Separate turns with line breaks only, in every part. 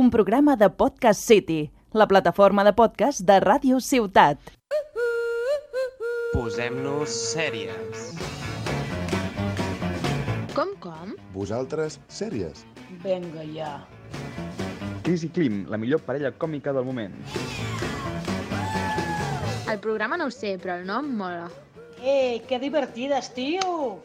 un programa de Podcast City, la plataforma de podcast de Ràdio Ciutat.
Posem-nos sèries.
Com, com?
Vosaltres, sèries.
Venga ja.
Chris i Klim, la millor parella còmica del moment.
El programa no ho sé, però el nom mola.
Eh, qué divertidas, tío.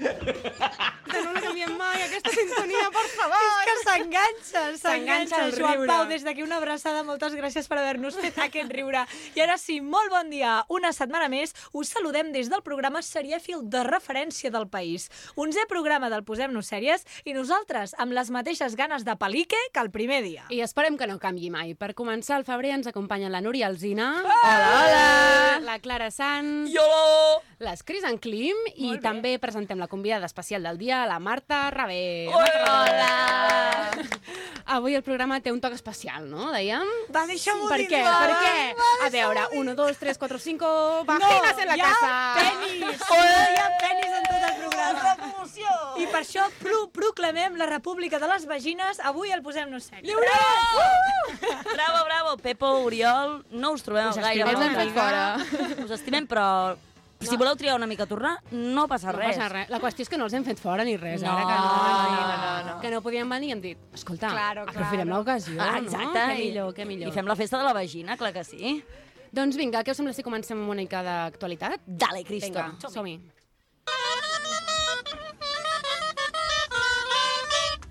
Aquesta no la canviem mai, aquesta sintonia, per favor! És que s'enganxa, s'enganxa el Joan Pau. Des d'aquí una abraçada, moltes gràcies per haver-nos fet aquest riure. I ara sí, molt bon dia. Una setmana més us saludem des del programa Serièfil de referència del país. Onzè programa del Posem-nos Sèries i nosaltres amb les mateixes ganes de pelique que el primer dia.
I esperem que no canvi mai. Per començar el febrer ens acompanyen la Núria Alzina.
Hola, hola!
La Clara Sanz.
Iolo!
Les Cris en Klim. I també presentem la convidada especial del dia, la Marta Rabé.
Hola!
Avui el programa té un toc especial, no? Dèiem?
Va, deixa-m'ho
Per
dir,
què?
va.
Per què? A veure, 1, 2, 3, 4, 5... Vaginas oh, en la
hi ha
casa!
Penis! Hi ha penis en tot el programa. Revolució! I per això pro proclamem la república de les vagines. Avui el posem-nos Uh! sèrie. Lliure!
Bravo, bravo, Pepo, Oriol, no us trobem
Us
gaire.
estimem,
no?
ens hem
Us estimem, però si voleu triar una mica a tornar, no passa
No
res.
passa res. La qüestió és que no els hem fet fora ni res.
No,
ara que no,
no,
no, no. Que no podíem venir i hem dit, escolta,
Claro, claro.
aprofitem l'ocasió,
Ah,
no?
exacte.
Que
i-
millor, que millor.
I fem la festa de la vagina, clar que sí.
Doncs vinga, què us sembla si comencem amb una mica d'actualitat?
Dale, Cristo.
Vinga, som-hi.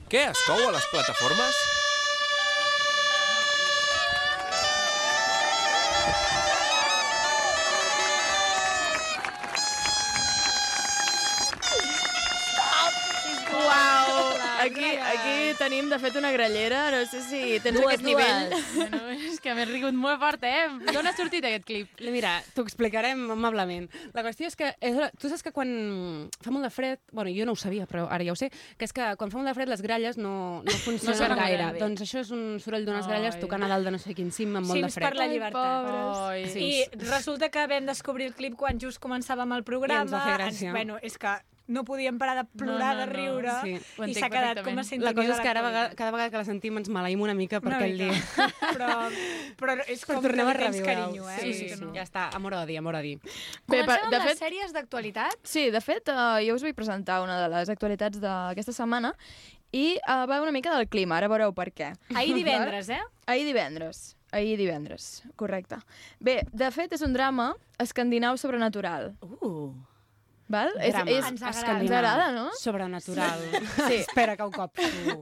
Què es cou a les plataformes?
Uau! Aquí, aquí tenim, de fet, una grallera. No sé si tens
Dues,
aquest nivell. Bueno, és que m'he rigut molt fort, eh?
Mm,
D'on ha sortit aquest clip?
Mira, t'ho explicarem amablement. La qüestió és que és, tu saps que quan fa molt de fred, bueno, jo no ho sabia, però ara ja ho sé, que és que quan fa molt de fred les gralles no, no funcionen
sonen
gaire.
gaire bé.
Doncs això és un soroll d'unes
Ai.
gralles tocant a dalt de no sé quin cim amb molt de
Cims per
fred.
la llibertat.
Ai,
Sí.
I resulta que vam descobrir el clip quan just començàvem el programa.
I ens va fer gràcia.
Ens- Bueno, és que no podíem parar de plorar,
No, no,
de
no,
riure,
sí,
ho
i
entenc
s'ha quedat com a
perfectament.
sintonia
La cosa és
de
que ara
l'actualitat.
vegada, cada vegada que la sentim ens maleïm una mica per
Una
aquell
mica.
dia.
Però, però és com
Però tornem
que
a
li tens
reviure
carinyo, eh?
Sí,
O
sí,
sigui que
sí.
no.
Ja està, amor-odi, amor-odi.
Bé, per, de fet,
sèries d'actualitat?
Sí, de fet, eh, jo us vull presentar una de les actualitats d'aquesta setmana i eh, va una mica del clima, ara veureu per què.
Ahir divendres, eh?
Ahir divendres, ahir divendres, correcte. Bé, de fet, és un drama escandinau sobrenatural,
Uh.
val? És,
Drama.
és,
Ens agrada.
Ens agrada, no?
Sobrenatural.
Sí.
Espera que ho copso.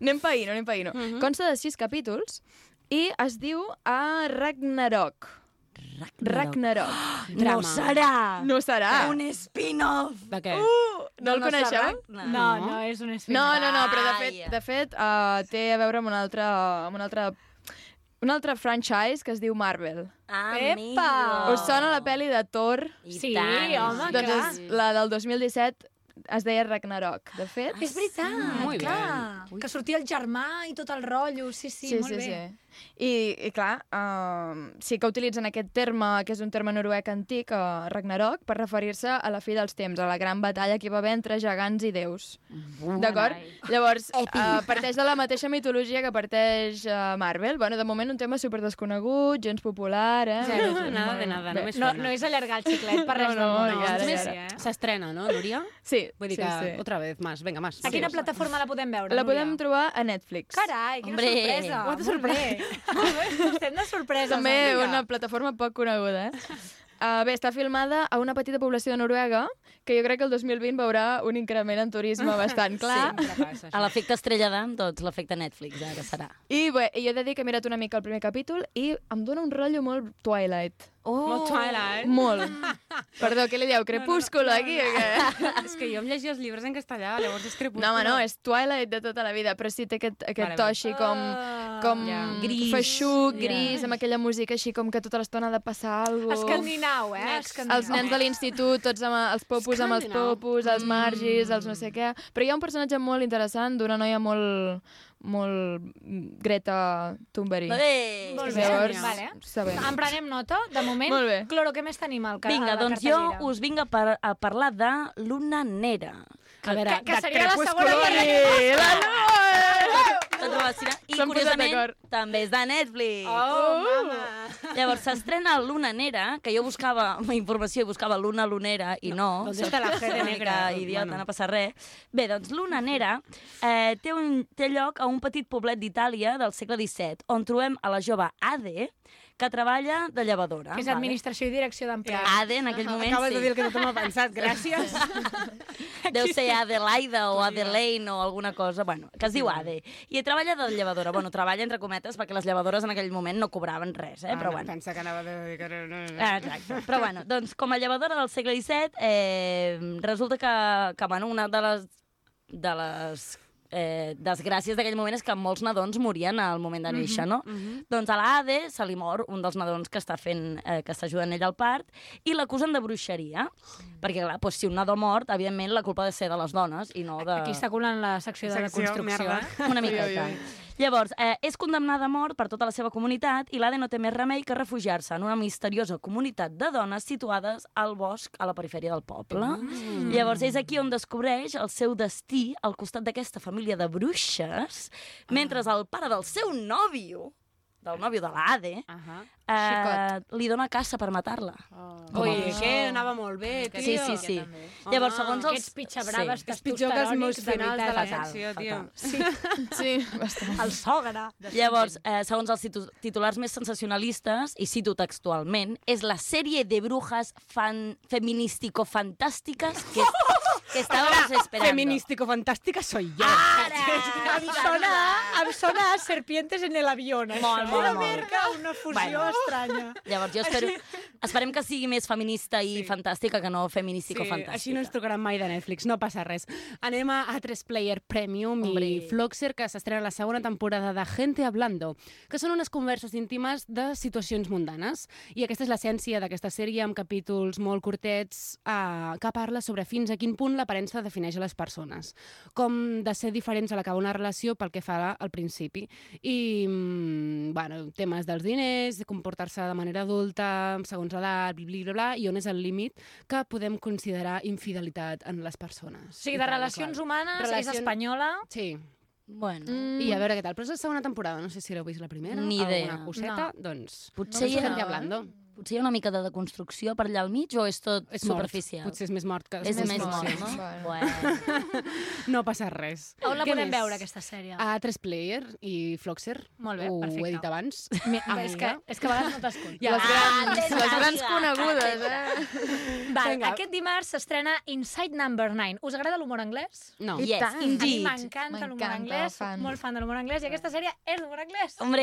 Anem païno, anem païno.
Uh-huh.
Mhm.
Consta de sis capítols i es diu a Ragnarok. Ragnarok.
Drama.
No serà
No serà.
un spin-off.
De què?
Uh, no el
de nostre
coneixeu?
Ragnar.
No, no, és un esfera.
No, no, no, però de fet,
Vaja.
de fet uh, té a veure amb un altre, amb un altre, un altre franchise que es diu Marvel.
Amigo.
Oh. Us sona la pel·li de Thor?
I
Sí,
tant.
home, Ah,
doncs
clar.
és la del 2017 es deia Ragnarok, de fet.
Ah,
És veritat,
Molt bé.
Clar, que sortia el germà i tot el rotllo, sí, sí, molt bé.
sí. I, i clar, uh, sí que utilitzen aquest terme, que és un terme noruec antic, uh, Ragnarok, per referir-se a la fi dels temps, a la gran batalla que hi va haver entre gegants i déus. D'acord? Llavors, uh, parteix de la mateixa mitologia que parteix uh, Marvel. Bueno, de moment un tema super desconegut, gens popular, eh?
Zero, nada de nada,
Bé,
només
No,
suena.
no és allargar el xiclet per res
No,
del
no,
món.
ja
és
ara, ja
més,
ara.
eh?
S'estrena, no, Núria?
Sí,
Vull
sí,
dir que,
sí.
otra vez más, venga, más.
A quina plataforma la podem veure?
La
Núria?
podem trobar a Netflix.
Carai, quina
Hombre.
sorpresa. Quanta sorpresa. Estem de sorpresa.
També una plataforma poc coneguda, eh? Uh, bé, està filmada a una petita població de Noruega, que jo crec que el 2020 veurà un increment en turisme bastant clar. Sí.
passa,
A l'efecte estrella d'am, doncs, l'efecte Netflix, ara serà.
I bé, jo he de dir que he mirat una mica el primer capítol i em dóna un rotllo molt Twilight.
Oh,
Molt Twilight.
Molt. Perdó, què li dieu? Crepúsculo, aquí o què?
és que jo em llegia els llibres en castellà, llavors és crepúsculo.
No, home, no, és Twilight de tota la vida, però sí té aquest, aquest
Vale,
to
vale.
així com, com
Ja.
Gris.
feixuc,
Ja.
gris, amb aquella música així com que tota l'estona ha de passar alguna cosa.
Escandinau, eh? Escandinau.
Els nens de l'institut, tots amb els popus amb els
Escàndinau.
Mm. popus, els margis, els no sé què. Però hi ha un personatge molt interessant d'una noia molt, molt mm, Greta Thunberg.
Bé.
Molt bé.
Llavors,
vale.
sabem.
En prenem nota, de moment.
Molt bé.
Cloro, què més tenim al ca- a
Vinga,
la
doncs jo
cartellera?
us vinc a, par a parlar de l'una nera.
A veure,
que
de
seria la segona
Crepúsculo
part
i-
Tot relacionat. I,
S'han posat
curiosament,
d'acord.
també és de Netflix.
Oh, mama.
Llavors, s'estrena l'una nera, que jo buscava informació i buscava l'una lunera, i no. doncs,
doncs és de la
soc
Jede
una mica
Negra,
Idiota,
bueno.
no passa res. Bé, doncs l'una nera eh, té, un, té lloc a un petit poblet d'Itàlia del segle XVII, on trobem a la jove Ade, que treballa de llevadora.
Que és
vale?
administració i direcció d'empresa.
Ade, en aquell moment,
Acabes
sí.
de dir el que tothom ha pensat, gràcies.
Deu ser Adelaida o Adelaine o alguna cosa, bueno, que es diu Ade. I treballa de llevadora. Bueno, treballa entre cometes perquè les llevadores en aquell moment no cobraven res,
Ah,
eh? Però bueno.
Pensa que anava de dir que... no, no, no.
Ah, Exacte. Però bueno, doncs com a llevadora del segle XVII, eh, resulta que, que bueno, una de les, de les eh, desgràcies d'aquell moment és que molts nadons morien al moment de néixer, no? Doncs a l'Ade se li mor un dels nadons que està fent, eh, que està ajudant ell al part, i l'acusen de bruixeria, perquè clar, doncs, si un nadó mort, evidentment la culpa ha de ser de les dones i no de...
Aquí està colant la secció de la
Secció,
construcció.
merda.
eh?
Una mica.
Ui, ui, ui.
Llavors, eh, és condemnada a mort per tota la seva comunitat i l'Ade no té més remei que refugiar-se en una misteriosa comunitat de dones situades al bosc a la perifèria del poble. Mm. Llavors, és aquí on descobreix el seu destí al costat d'aquesta família de bruixes, mentre el pare del seu nòvio, del nòvio de l'Ade,
Ahà.
eh, li dona caça per matar-la.
Ui, que anava molt bé, tio.
Sí, sí, sí.
Home,
Llavors, segons els...
Aquests pitxabraves
Sí.
sí.
És pitjor que els meus
testosterònics, de
finals de
veritat,
la
eh?
secció, tio.
fatal.
Sí, bastant.
El sogre.
Llavors, eh, segons els titu- titulars més sensacionalistes, i cito textualment, és la sèrie de brujas fan feministico-fantàstiques que, que estábamos esperando. Ah,
Feministico fantàstica soy yo.
Em sona, em sona a serpientes en el avión, això.
Molt, molt,
Una
molt.
mica, una fusió
Bueno.
estranya.
Llavors, jo espero, esperem que sigui més feminista i sí. fantàstica que no feministico-fantàstica.
així no ens trucaran mai de Netflix, no passa res. Anem a A3 Player Premium Hombre. i
Hombre.
Floxer, que s'estrena la segona temporada de Gente Hablando, que són unes converses íntimes de situacions mundanes. I aquesta és l'essència d'aquesta sèrie, amb capítols molt curtets, eh, que parla sobre fins a quin punt l'aparença defineix a les persones. Com de ser diferents a l'acabar una relació pel que fa al principi. I, mm, bueno, temes dels diners, de comportar-se de manera adulta, segons l'edat, bla, bla, bla, i on és el límit que podem considerar infidelitat en les persones.
O sigui, de relacions humanes,
Relacion-
és espanyola.
Sí,
Bueno,
mm. i a veure què tal. Però és la segona temporada, no sé si l'heu vist la primera.
Ni idea.
Alguna coseta, doncs...
potser, hi
Gente
ha,
hablando.
potser hi ha una mica de deconstrucció per allà al mig o és tot
És mort.
superficial?
Potser és més mort que...
és,
més
més
mort,
mort,
sí.
no?
Bueno.
Bueno.
No passa res.
On la
Què
podem
més?
veure, aquesta sèrie?
A 3Player i Floxer.
Molt bé,
Ho
perfecte.
he dit abans. Ah,
Mi- és, que, és que a vegades no t'escolto.
Ja.
Les grans,
Ah,
les grans
amiga.
conegudes, eh?
Va,
Vinga.
aquest dimarts s'estrena Inside Number 9. Us agrada l'humor anglès?
No.
I
Yes,
tant.
A mi
indeed.
m'encanta l'humor
M'encanta,
anglès,
fan.
fan. molt fan de l'humor anglès, i aquesta sèrie és d'humor anglès.
Hombre!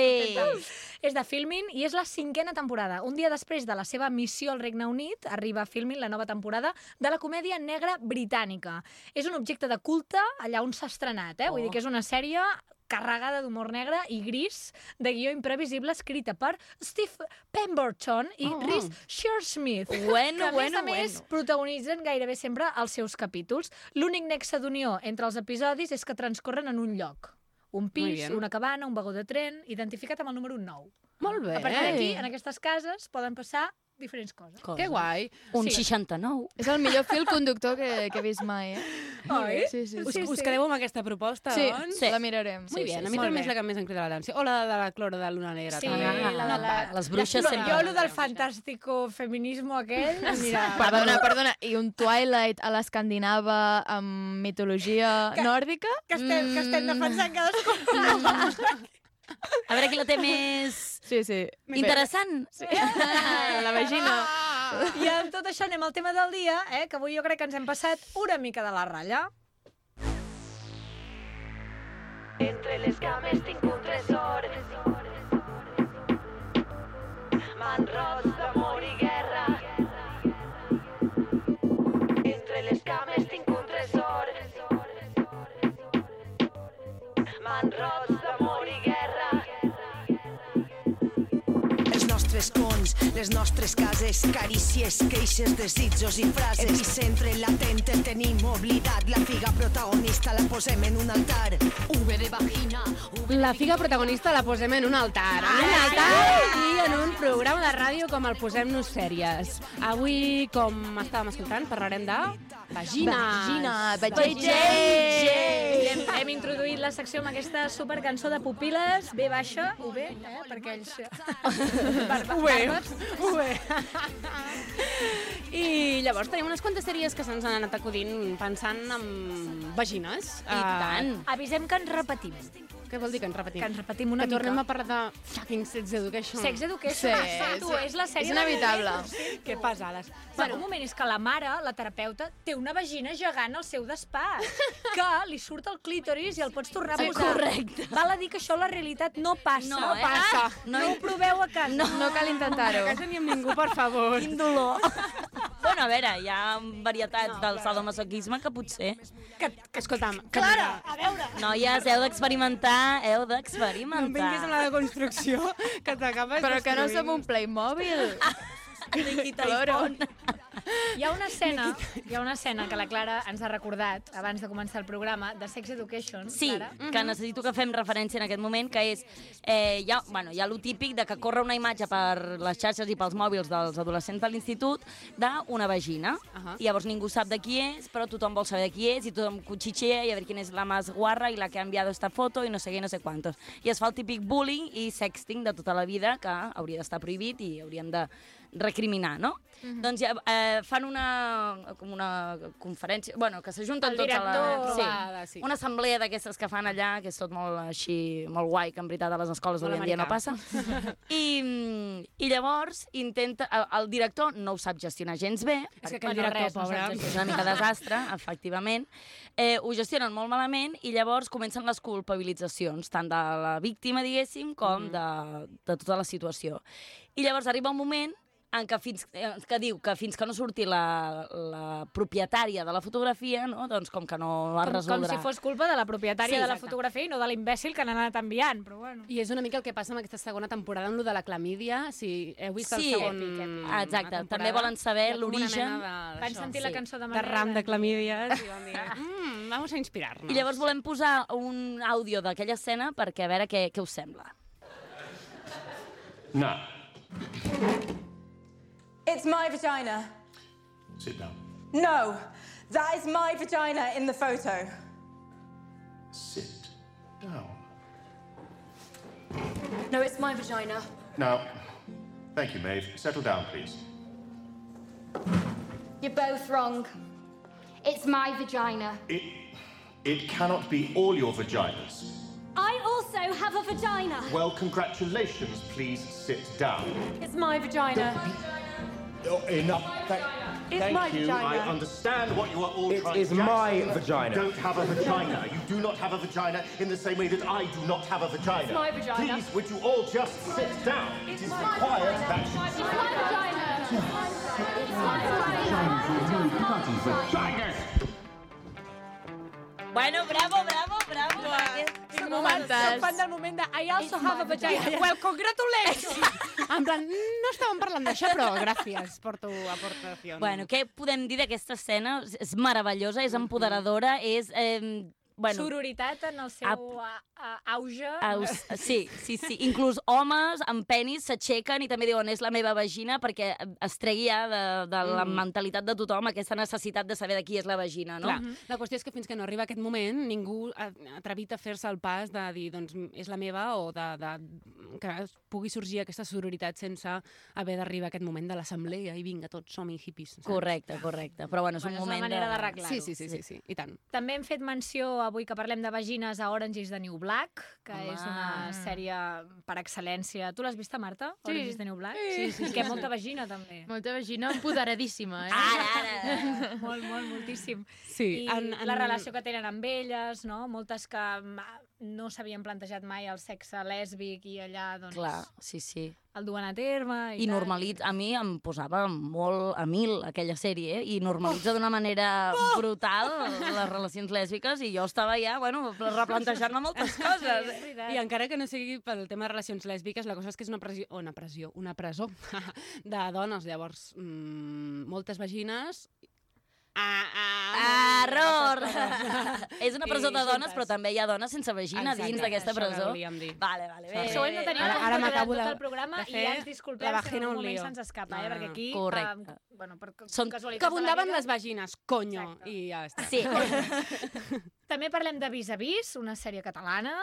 És de Filmin i és la cinquena temporada. Un dia després de la seva missió al Regne Unit, arriba a Filmin la nova temporada de la comèdia negra britànica. És un objecte de culte allà on s'ha estrenat, eh? Vull dir que és una sèrie carregada d'humor negre i gris, de guió imprevisible, escrita per Steve Pemberton i
Oh.
oh. Rhys Shearsmith que
Bueno,
a
bueno,
més a més
bueno.
protagonitzen gairebé sempre els seus capítols. L'únic nexe d'unió entre els episodis és que transcorren en un lloc. Un
Muy
pis,
bien.
una cabana, un vagó de tren, identificat amb el número 9.
Molt bé.
A partir d'aquí, en aquestes cases, poden passar diferents coses.
Que guai.
Un
Sí.
69.
És el millor fil conductor que, que he vist mai, eh?
Oi?
Sí, sí,
Us,
sí.
us quedeu amb aquesta proposta,
Sí,
doncs?
sí. la mirarem.
Molt bé, a mi
sí.
també
Molt bé.
és la que més em crida l'atenció. O la de la clora de Luna Negra.
Sí,
també.
la de la-
No,
Ah, Les bruixes
No,
sempre...
jo, lo del fantàstico feminismo aquell, mira...
Perdona, perdona. I un Twilight a l'escandinava amb mitologia nòrdica? Mm,
Que estem, que estem defensant cadascú.
A veure qui la té més
Sí, sí.
interessant. Sí.
La vagina.
I amb tot això anem al tema del dia, eh, que avui jo crec que ens hem passat una mica de la ratlla.
Entre les cames tinc un tresor. M'enros d'amor i guerra. Entre les cames tinc un tresor. M'enros d'amor i guerra.
Els nostres cons, les
les nostres cases, carícies, queixes, desitjos i frases. Epicentre latent el tenim oblidat, la figa protagonista la posem en un altar. V de vagina,
La figa protagonista la posem en un altar. En un altar i en un programa de ràdio com el Posem-nos Sèries. Avui, com estàvem escoltant, parlarem de... Vagines!
Vagines,
Vagines!
Hem, hem introduït la secció amb aquesta supercançó de pupiles, B baixa, UB, eh? perquè ells... eh,
UB. UB. I llavors tenim unes quantes sèries que se'ns han anat acudint pensant en vagines.
I tant.
Avisem que ens repetim. Què vol dir que ens repetim?
Que ens repetim una
que tornem
mica.
a parlar de fucking Sex Education.
Sex Education, sí, tu, és la sèrie...
és inevitable.
De... Que pesades. Bueno, un moment, és que la mare, la terapeuta, té una vagina gegant al seu despatx, que li surt el clítoris i el pots tornar a
Sí,
posar.
correcte.
Val a dir que això a la realitat no passa.
No, eh?
passa.
Ah,
no,
no.
ho proveu a casa.
No. No cal intentar-ho.
A casa ni amb ningú, per favor.
Quin dolor. bueno, a veure, hi ha varietats del sadomasoquisme que potser...
Que, que escolta'm... Que
Clara, a veure...
Noies, heu d'experimentar, heu d'experimentar.
No em vinguis amb la deconstrucció, que t'acabes
Però que no
destruint.
som un Playmobil.
Nikita
Hi ha una escena, hi ha una escena que la Clara ens ha recordat abans de començar el programa de Sex Education.
Sí,
doncs,
Mm,
Clara. Mhm.
que necessito que fem referència en aquest moment, que és... Eh, hi, ha, bueno, hi ha lo típic de que corre una imatge per les xarxes i pels mòbils dels adolescents de l'institut d'una vagina. Uh
Ahà.
-huh. Llavors ningú sap de qui és, però tothom vol saber de qui és, i tothom cuchichea i a veure quina és la més guarra i la que ha enviat esta foto i no sé què, i no sé quantos. I es fa el típic bullying i sexting de tota la vida, que hauria d'estar prohibit i hauríem de recriminar, no? Uh
Mhm.
-huh. Doncs ja, eh, fan una, com una conferència... Bueno, que s'ajunten
El
tots a
director,
la...
trobada, sí.
Una assemblea d'aquestes que fan allà, que és tot molt així, molt guai, que en veritat a les escoles
Molt
d'avui en dia no
americà.
passa. I, mm, I llavors intenta... el- El director no ho sap gestionar gens bé.
És
perquè-
que aquell director,
no sap
pobre.
gestionar, És una mica desastre, efectivament. Eh, ho gestionen molt malament i llavors comencen les culpabilitzacions, tant de la víctima, diguéssim, com
Mm-hmm.
de, de tota la situació. I llavors arriba un moment en què, fins, eh, que diu que fins que no surti la, la propietària de la fotografia, no? doncs com que no la
Com, com
resoldrà.
si fos culpa de la
Sí,
propietària de la
exacte.
fotografia i no de l'imbècil que n'ha anat enviant, però bueno.
I és una mica el que passa amb aquesta segona temporada, amb lo de la clamídia, si heu vist el
Sí,
segon...
èpic, èpic.
la
Exacte,
temporada,
també volen saber
hi ha com una
l'origen.
mena de-
Van
d'això,
sentir la cançó de
De
Manel
ram de
Gran.
clamídies i van dir, mm, vamos a inspirar-nos.
I llavors volem posar un àudio d'aquella escena perquè a veure què, què us sembla.
No.
It's my vagina.
Sit down.
No, that is my vagina in the photo.
Sit down.
No, it's my vagina.
Now, thank you, Maeve. Settle down, please.
You're both wrong. It's my vagina.
It, it cannot be all your vaginas.
I also have a vagina.
Well, congratulations. Please sit down.
It's my vagina.
Oh, enough. Thank,
It's
thank
my
you. I
vagina.
understand what you are all trying
is
to get.
my
You
vagina.
Don't have a vagina. You do not have a vagina in the same way that I do not have a vagina.
It's my vagina.
Please, would you all just sit down? it is
my
required
vagina.
that you
Bueno, bravo, bravo, bravo.
Són moments- Són fan del moment de I also have a vagina. Well, congratulations!
En plan, no estàvem parlant d'això, però gràcies per tu aportació.
Bueno, què podem dir d'aquesta escena? És- És meravellosa, és empoderadora, és... Eh, bueno,
Sororitat en el seu
Ap-
a, a, auge.
Aus, sí, sí, sí. Inclús homes amb penis s'aixequen i també diuen és la meva vagina perquè es tregui ja de, de la
Mm.
mentalitat de tothom aquesta necessitat de saber de qui és la vagina, no?
Clar, la qüestió és que fins que no arriba aquest moment ningú ha atrevit a fer-se el pas de dir doncs és la meva o de, de que es pugui sorgir aquesta sororitat sense haver d'arrivar a aquest moment de l'assemblea i vinga, tots som hippies. Saps?
Correcte, correcte. Però bueno, és un
Bueno, és una
moment
manera
de...
d'arreglar-ho.
Sí, sí, sí, sí, sí, i tant.
També hem fet menció avui que parlem de vagines a Orange is the New Black, que Home.
Home.
és una sèrie per excel·lència. Tu l'has vista, Marta?
Sí.
Orange is the New Black?
Sí, sí, sí,
I que
sí.
molta vagina, també.
Molta vagina empoderadíssima, eh?
Ara, ara. molt, molt, moltíssim.
Sí,
I
en- en-
la relació que tenen amb elles, no? Moltes que mm, no s'havien plantejat mai el sexe lèsbic i allà, doncs,
Clar, sí, sí.
el duen a terme i,
I normalitza... A mi em posava molt a mil aquella sèrie, eh? I
Oh!
normalitza d'una manera brutal les relacions lèsbiques i jo estava ja, bueno, replantejant-me moltes coses.
eh?
I encara que no sigui pel tema de relacions lèsbiques, la cosa és que és una pressió, o una pressió, una presó de dones, llavors, mm, moltes vagines... Ah, ah,
Error! és una
I
presó de dones,
juntes.
però també hi ha dones sense vagina
Exacte,
dins d'aquesta
això
presó.
que volíem dir.
Vale, vale, bé.
Sí. Segurament no tenim ara, ara
m'acabo
tot
de-
el programa
de
i
fer
ja ens disculpem
la
si en
vagina
algun
un
moment
lío.
se'ns escapa,
No,
eh? perquè aquí...
correcte.
eh, bueno, per
Són-
Són... casualitats
que
de la
abundaven
vida.
les vagines, conyo, i ja està.
Sí.
També parlem de Vis a Vis, una sèrie catalana.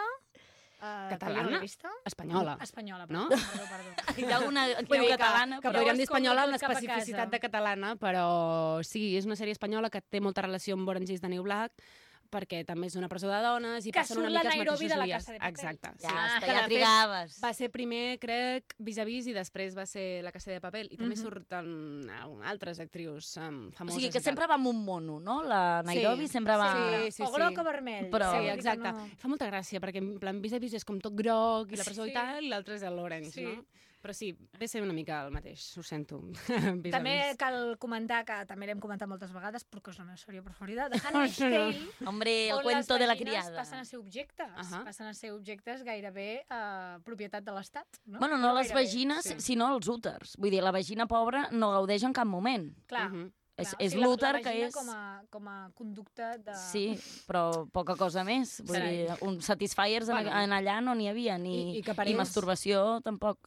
eh,
Catalana?
que jo no he vist.
Espanyola.
Espanyola,
No?
perdó, perdó, perdó.
Hi ha alguna
Vull
actriu
dir
catalana,
que, que
però...
podríem dir
es compta
espanyola amb
tot cap a
l'especificitat
casa.
de catalana, però sí, és una sèrie espanyola que té molta relació amb Orange is the New Black, perquè també és una presó de dones i
Que
passen una
surt la
mica els
Nairobi
mateixos
de la
dies.
Casa de Papel.
Exacte.
Ja està,
Ah, Que
ja
de fet
trigaves.
Va ser primer, crec, vis a vis i després va ser la Casa de Papel. I també
Mhm.
surten eh, altres actrius um,
O
famoses.
sigui, que
i tal.
sempre va amb un mono, no? La Nairobi
Sí,
sempre va...
Sí, sí, sí.
O groc o vermell.
Però...
Vull
Sí,
dir que
exacte.
no.
Fa molta gràcia, perquè en plan vis a vis és com tot groc i la presó
Sí.
i tal, i l'altre és el l'orange,
Sí.
no? Però sí, ve a ser una mica el mateix, ho sento. vis
També
a vis.
cal comentar, que també l'hem comentat moltes vegades, perquè és la meva sèrie preferida, de
No,
Handmaid's
això no.
Tale,
Hombre, el
on
cuento de la
les vagines
criada.
passen a ser objectes,
Ahà.
passen a ser objectes gairebé eh, propietat de l'Estat. No?
Bueno, no les
gairebé.
vagines, sinó els úters. Vull dir, la vagina pobra no gaudeix en cap moment.
Clar.
Mhm.
És,
Clar, o
és
sigui, la- la
l'úter que
vagina
és...
Com a, com a conducta de...
Sí, però poca cosa més. Vull
Carai.
dir, un satisfiers en,
Bueno.
en allà no n'hi havia, ni,
I- i
I,
que per
i
ells-
masturbació tampoc.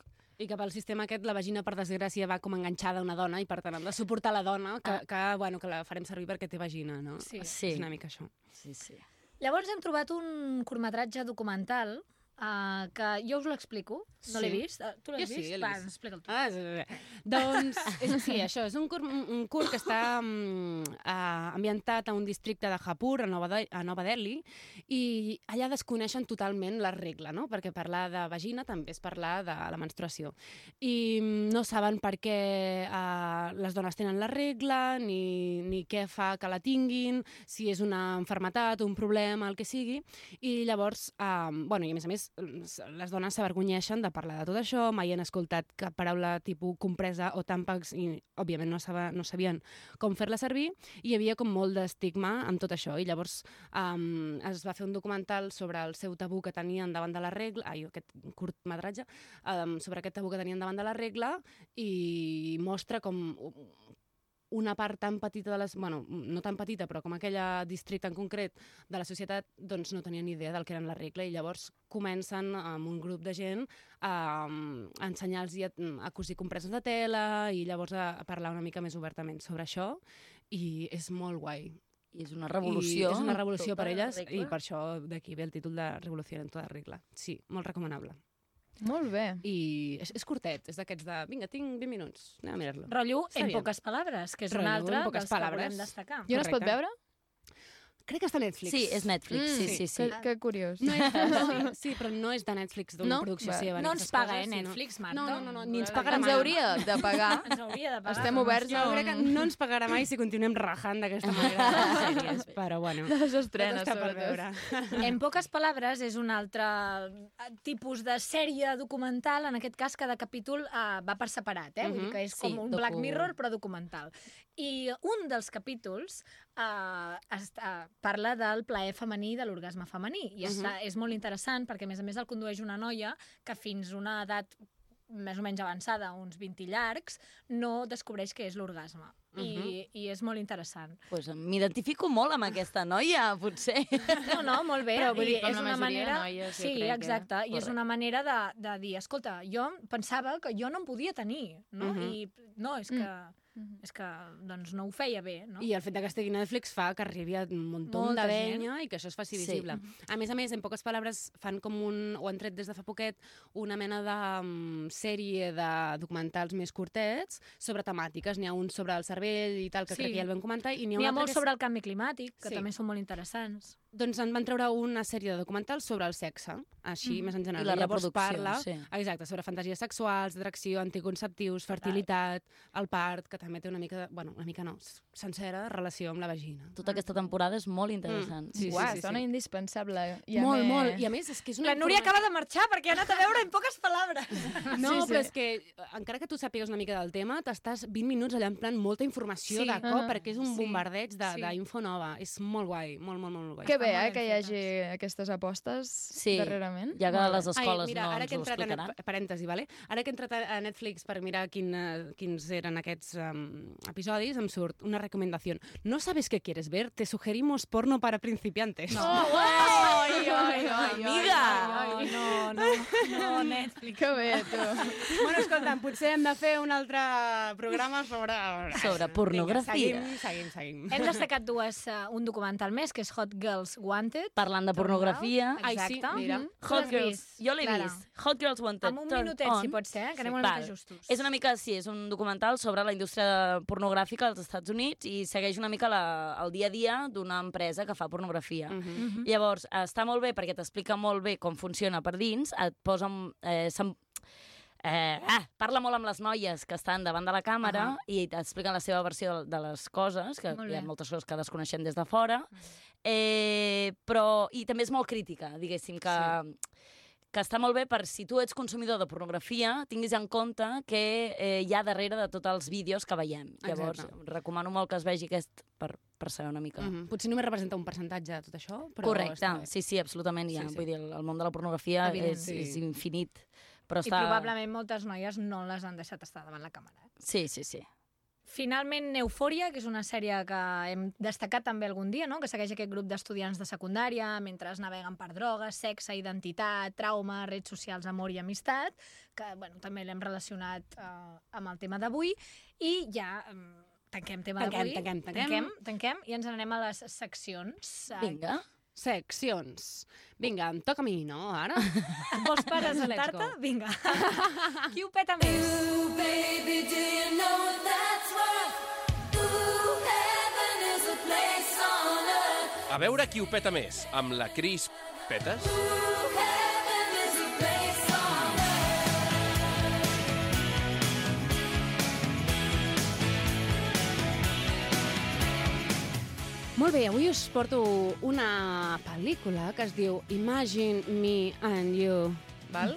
I que pel sistema aquest la vagina, per desgràcia, va com enganxada a una dona i, per tant, hem de suportar la dona, que, que, bueno, que la farem servir perquè té vagina, no?
Sí.
Sí.
És una mica això.
Sí, sí.
Llavors hem trobat un curtmetratge documental uh, que jo us l'explico, no l'he
Sí.
vist. Uh, tu l'has
Jo
vist?
sí, l'he
Va,
vist.
explica'l tu.
Ah, sí, sí, sí. Doncs, és, sí, això, és un curt, un un curt que està mm, ah, ambientat a un districte de Japur, a Nova, de a Nova Delhi, i allà desconeixen totalment la regla, no? perquè parlar de vagina també és parlar de la menstruació. I mm, no saben per què eh, les dones tenen la regla, ni, ni què fa que la tinguin, si és una malaltat, un problema, el que sigui, i llavors, um, bueno, i a més a més, s- les dones s'avergonyeixen de parlar de tot això, mai han escoltat cap paraula tipus compresa o tàmpacs i, òbviament, no, saba, no sabien com fer-la servir, i hi havia com molt d'estigma amb tot això, i llavors um, es va fer un documental sobre el seu tabú que tenien davant de la regla, ai, aquest curtmetratge, um, sobre aquest tabú que tenien davant de la regla, i mostra com una part tan petita de les... Bueno, no tan petita, però com aquella districte en concret de la societat, doncs no tenien ni idea del que eren la regla i llavors comencen amb un grup de gent a, a ensenyar-los a, a cosir compreses de tela i llavors a, a parlar una mica més obertament sobre això i és molt guai.
I és una revolució
I és una
en
revolució
tota
per
la
elles
regla.
i per això d'aquí ve el títol de Revolució en tota regla. Sí, molt recomanable.
Molt bé.
I és, és curtet, és d'aquests de... Vinga, tinc 20 minuts, anem a mirar-lo.
Rotllo
Està
en
bien.
poques paraules, que és un
Rotllo en
altre dels
poques
que volem
palabres.
destacar.
I on es pot
Correcte.
veure? Mm.
Crec que està a Netflix.
Sí, és Netflix, sí, sí, sí.
Que, que curiós.
Mm. No és, sí, sí, però no és de Netflix, d'una
No?
producció
Va.
seva.
No
ni
ens
aquestes
paga, eh,
sinó-
Netflix, Marta?
No, no, no, no, ni ens pagarà
Ens
mai.
hauria de pagar.
Ens hauria de pagar.
Estem oberts a
Jo
un...
crec que no ens pagarà mai si continuem rajant d'aquesta manera de les sèries, però bueno.
De les
tot
estrenes,
està per veure.
sobretot.
En poques paraules és un altre eh, tipus de sèrie documental, en aquest cas cada capítol eh, va per separat, eh? Vull dir
Mhm,
que és
sí,
com un
docu-
Black Mirror però documental. I un dels capítols eh, està, parla del plaer femení i de l'orgasme femení. I està,
Mhm.
és molt interessant perquè, a més a més, el condueix una noia que fins a una edat més o menys avançada, uns 20 llargs, no descobreix què és l'orgasme. I, I és molt interessant.
Pues m'identifico molt amb aquesta noia, potser.
No, no, molt bé.
Però vull
I
dir, com
és
la
una
majoria de
manera...
noies, jo
sí,
crec, eh?
exacte. I és una manera de, de dir, escolta, jo pensava que jo no en podia tenir, no?
Mhm.
I no, és que, és que doncs, no ho feia bé, no?
I el fet de que estigui a Netflix fa que arribi a un muntó
Molta
de
gent.
venya i que això es faci
Sí.
visible. A més a més, en poques paraules, fan com un... o han tret des de fa poquet una mena de um, sèrie de documentals més curtets sobre temàtiques. N'hi ha un sobre el cervell i tal, que
Sí.
crec que ja el vam comentar, i n'hi ha,
N'hi ha
un altre
molt
que és-
sobre el canvi climàtic, que
Sí.
també són molt interessants.
Doncs en van treure una sèrie de documentals sobre el sexe, així,
Mhm.
més en general.
I la
Llavors
reproducció,
parla,
sí.
Exacte, sobre fantasies sexuals, atracció, anticonceptius, fertilitat, el part, que també té una mica, de, bueno, una mica no, s- sencera relació amb la vagina.
Tota aquesta temporada és molt interessant.
Mm. Sí,
Uah,
sí, sí,
sona
sí.
indispensable.
Molt, molt. I a més, és que és una
La Núria
informa-
acaba de marxar perquè ha anat a veure en poques paraules.
No, sí, però és que eh, encara que tu sàpigues una mica del tema, t'estàs 20 minuts allà en plan molta informació
Sí.
sí. de cop,
Ah.
perquè és un
Sí.
bombardeig de-
Sí.
d'info sí. nova. És molt guai, molt, molt, molt guai.
Que bé, eh, que hi hagi aquestes apostes darrerament. Molt bé.
Ai, mira, ara que he entrat a Net- Parèntesi, vale? Ara que he entrat a a Netflix per mirar quin, eh, quins eren aquests um, episodis, em surt una recomendació. No sabes qué quieres ver? Te sugerimos porno para principiantes.
No. Oh, ai, ai, ai, ai,
Amiga!
ai, ai, no, no, no, Netflix.
Que bé, tu.
bueno, escolta'm, potser hem de fer un altre programa sobre...
Sobre pornografia.
Vinga, seguim, seguim, seguim.
Hem destacat dues, eh, un documental més, que és Hot Girls Wanted.
Parlant de pornografia.
Ai, sí,
Exacte.
mira.
Mhm.
Tu
Hot
l'has
Girls.
vist,
Jo l'he
Clara?
vist. Hot Girls Wanted.
Amb un
Turn
minutet,
on.
si pot ser, eh, que anem una mica justos.
És una mica, sí, és un documental sobre la indústria pornogràfica als Estats Units i segueix una mica la, el dia a dia d'una empresa que fa
Mm.
pornografia.
Mhm.
Llavors, està molt bé perquè t'explica molt bé com funciona per dins, et posa... en- Eh, se'n- Eh, ah, parla molt amb les noies que estan davant de la càmera
Ahà.
i t'expliquen la seva versió de, de les coses, que
Molt
hi ha
bé.
moltes coses que desconeixem des de fora, eh, però, i també és molt crítica, diguéssim, que, que està molt bé per si tu ets consumidor de pornografia, tinguis en compte que eh, hi ha darrere de tots els vídeos que veiem. Llavors,
Exacte.
recomano molt que es vegi aquest per, per saber una mica. Mm
Mhm. Potser només representa un percentatge de tot això, però...
Correcte,
està bé.
sí, sí, absolutament. Ja. Sí,
Sí, sí.
sí. Vull dir, el, el món de la pornografia
Evident,
és,
sí.
és infinit. Però
I
està...
probablement moltes noies no les han deixat estar davant la càmera. eh.
Sí, sí, sí.
Finalment, Eufòria, que és una sèrie que hem destacat també algun dia, no? que segueix aquest grup d'estudiants de secundària mentre es naveguen per drogues, sexe, identitat, trauma, redes socials, amor i amistat, que bueno, també l'hem relacionat eh, amb el tema d'avui. I ja eh, tanquem tema
Tanquem,
d'avui.
tanquem, tanquem.
tanquem. Tanquem i ens n'anem a les seccions. eh,
Vinga. Seccions. Vinga, em toca a mi, no, ara?
Vols presentar-te? Vinga. Qui ho peta més?
Baby, do you know what that's worth? Ooh, heaven is a place on earth.
A veure qui ho peta més, amb la Cris Petes
Heaven is a place on earth.
Molt bé, avui us porto una pel·lícula que es diu Imagine Me and You. Val?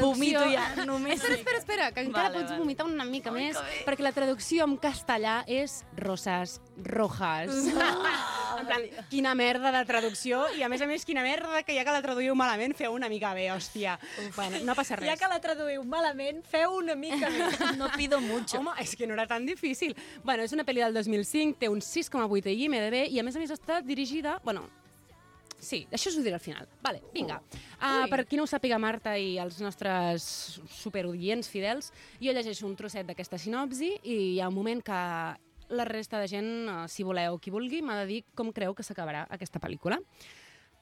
Vomito ja, només.
Espera, espera, espera, que encara
Vale,
pots
vale.
vomitar una mica més, perquè la traducció en castellà és Rosas Rojas. en plan, quina merda de traducció, i a més a més, quina merda que ja que la traduïu malament feu una mica bé, hòstia. Bueno, no passa res.
Ja que la traduïu malament, feu una mica més.
No pido mucho.
Home, és que no era tan difícil. Bueno, és una pel·li del 2005, té un 6,8 a IMDB i a més a més està dirigida... Bueno, sí, això us ho diré al final. Vale, vinga. Uh, per qui no ho sàpiga, Marta i els nostres superaudients fidels, jo llegeixo un trosset d'aquesta sinopsi i hi ha un moment que la resta de gent, eh, si voleu, qui vulgui, m'ha de dir com creu que s'acabarà aquesta pel·lícula.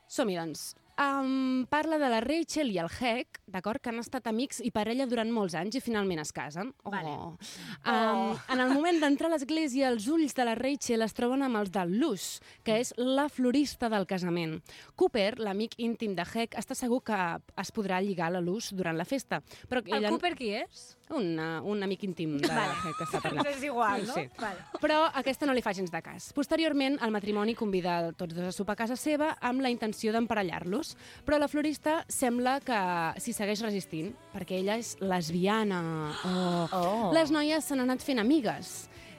Som-hi, doncs. Um, parla de la Rachel i el Heck, d'acord, que han estat amics i parella durant molts anys i finalment es casen. Oh. Vale. Um, oh. En el moment d'entrar a l'església, els ulls de la Rachel es troben amb els de Luz, que és la florista del casament. Cooper, l'amic íntim de Heck, està segur que es podrà lligar a la Luz durant la festa. Però
El Cooper qui és?
Un, eh, un amic íntim de
Vale.
Heck que està per allà.
És igual, no?
Sí.
Vale.
Però aquesta no li fa gens de cas. Posteriorment, el matrimoni convida tots dos a sopar a casa seva amb la intenció d'emparellar-los, però la florista sembla que s'hi segueix resistint, perquè ella és lesbiana. Oh.
Oh.
Les noies s'han anat fent amigues.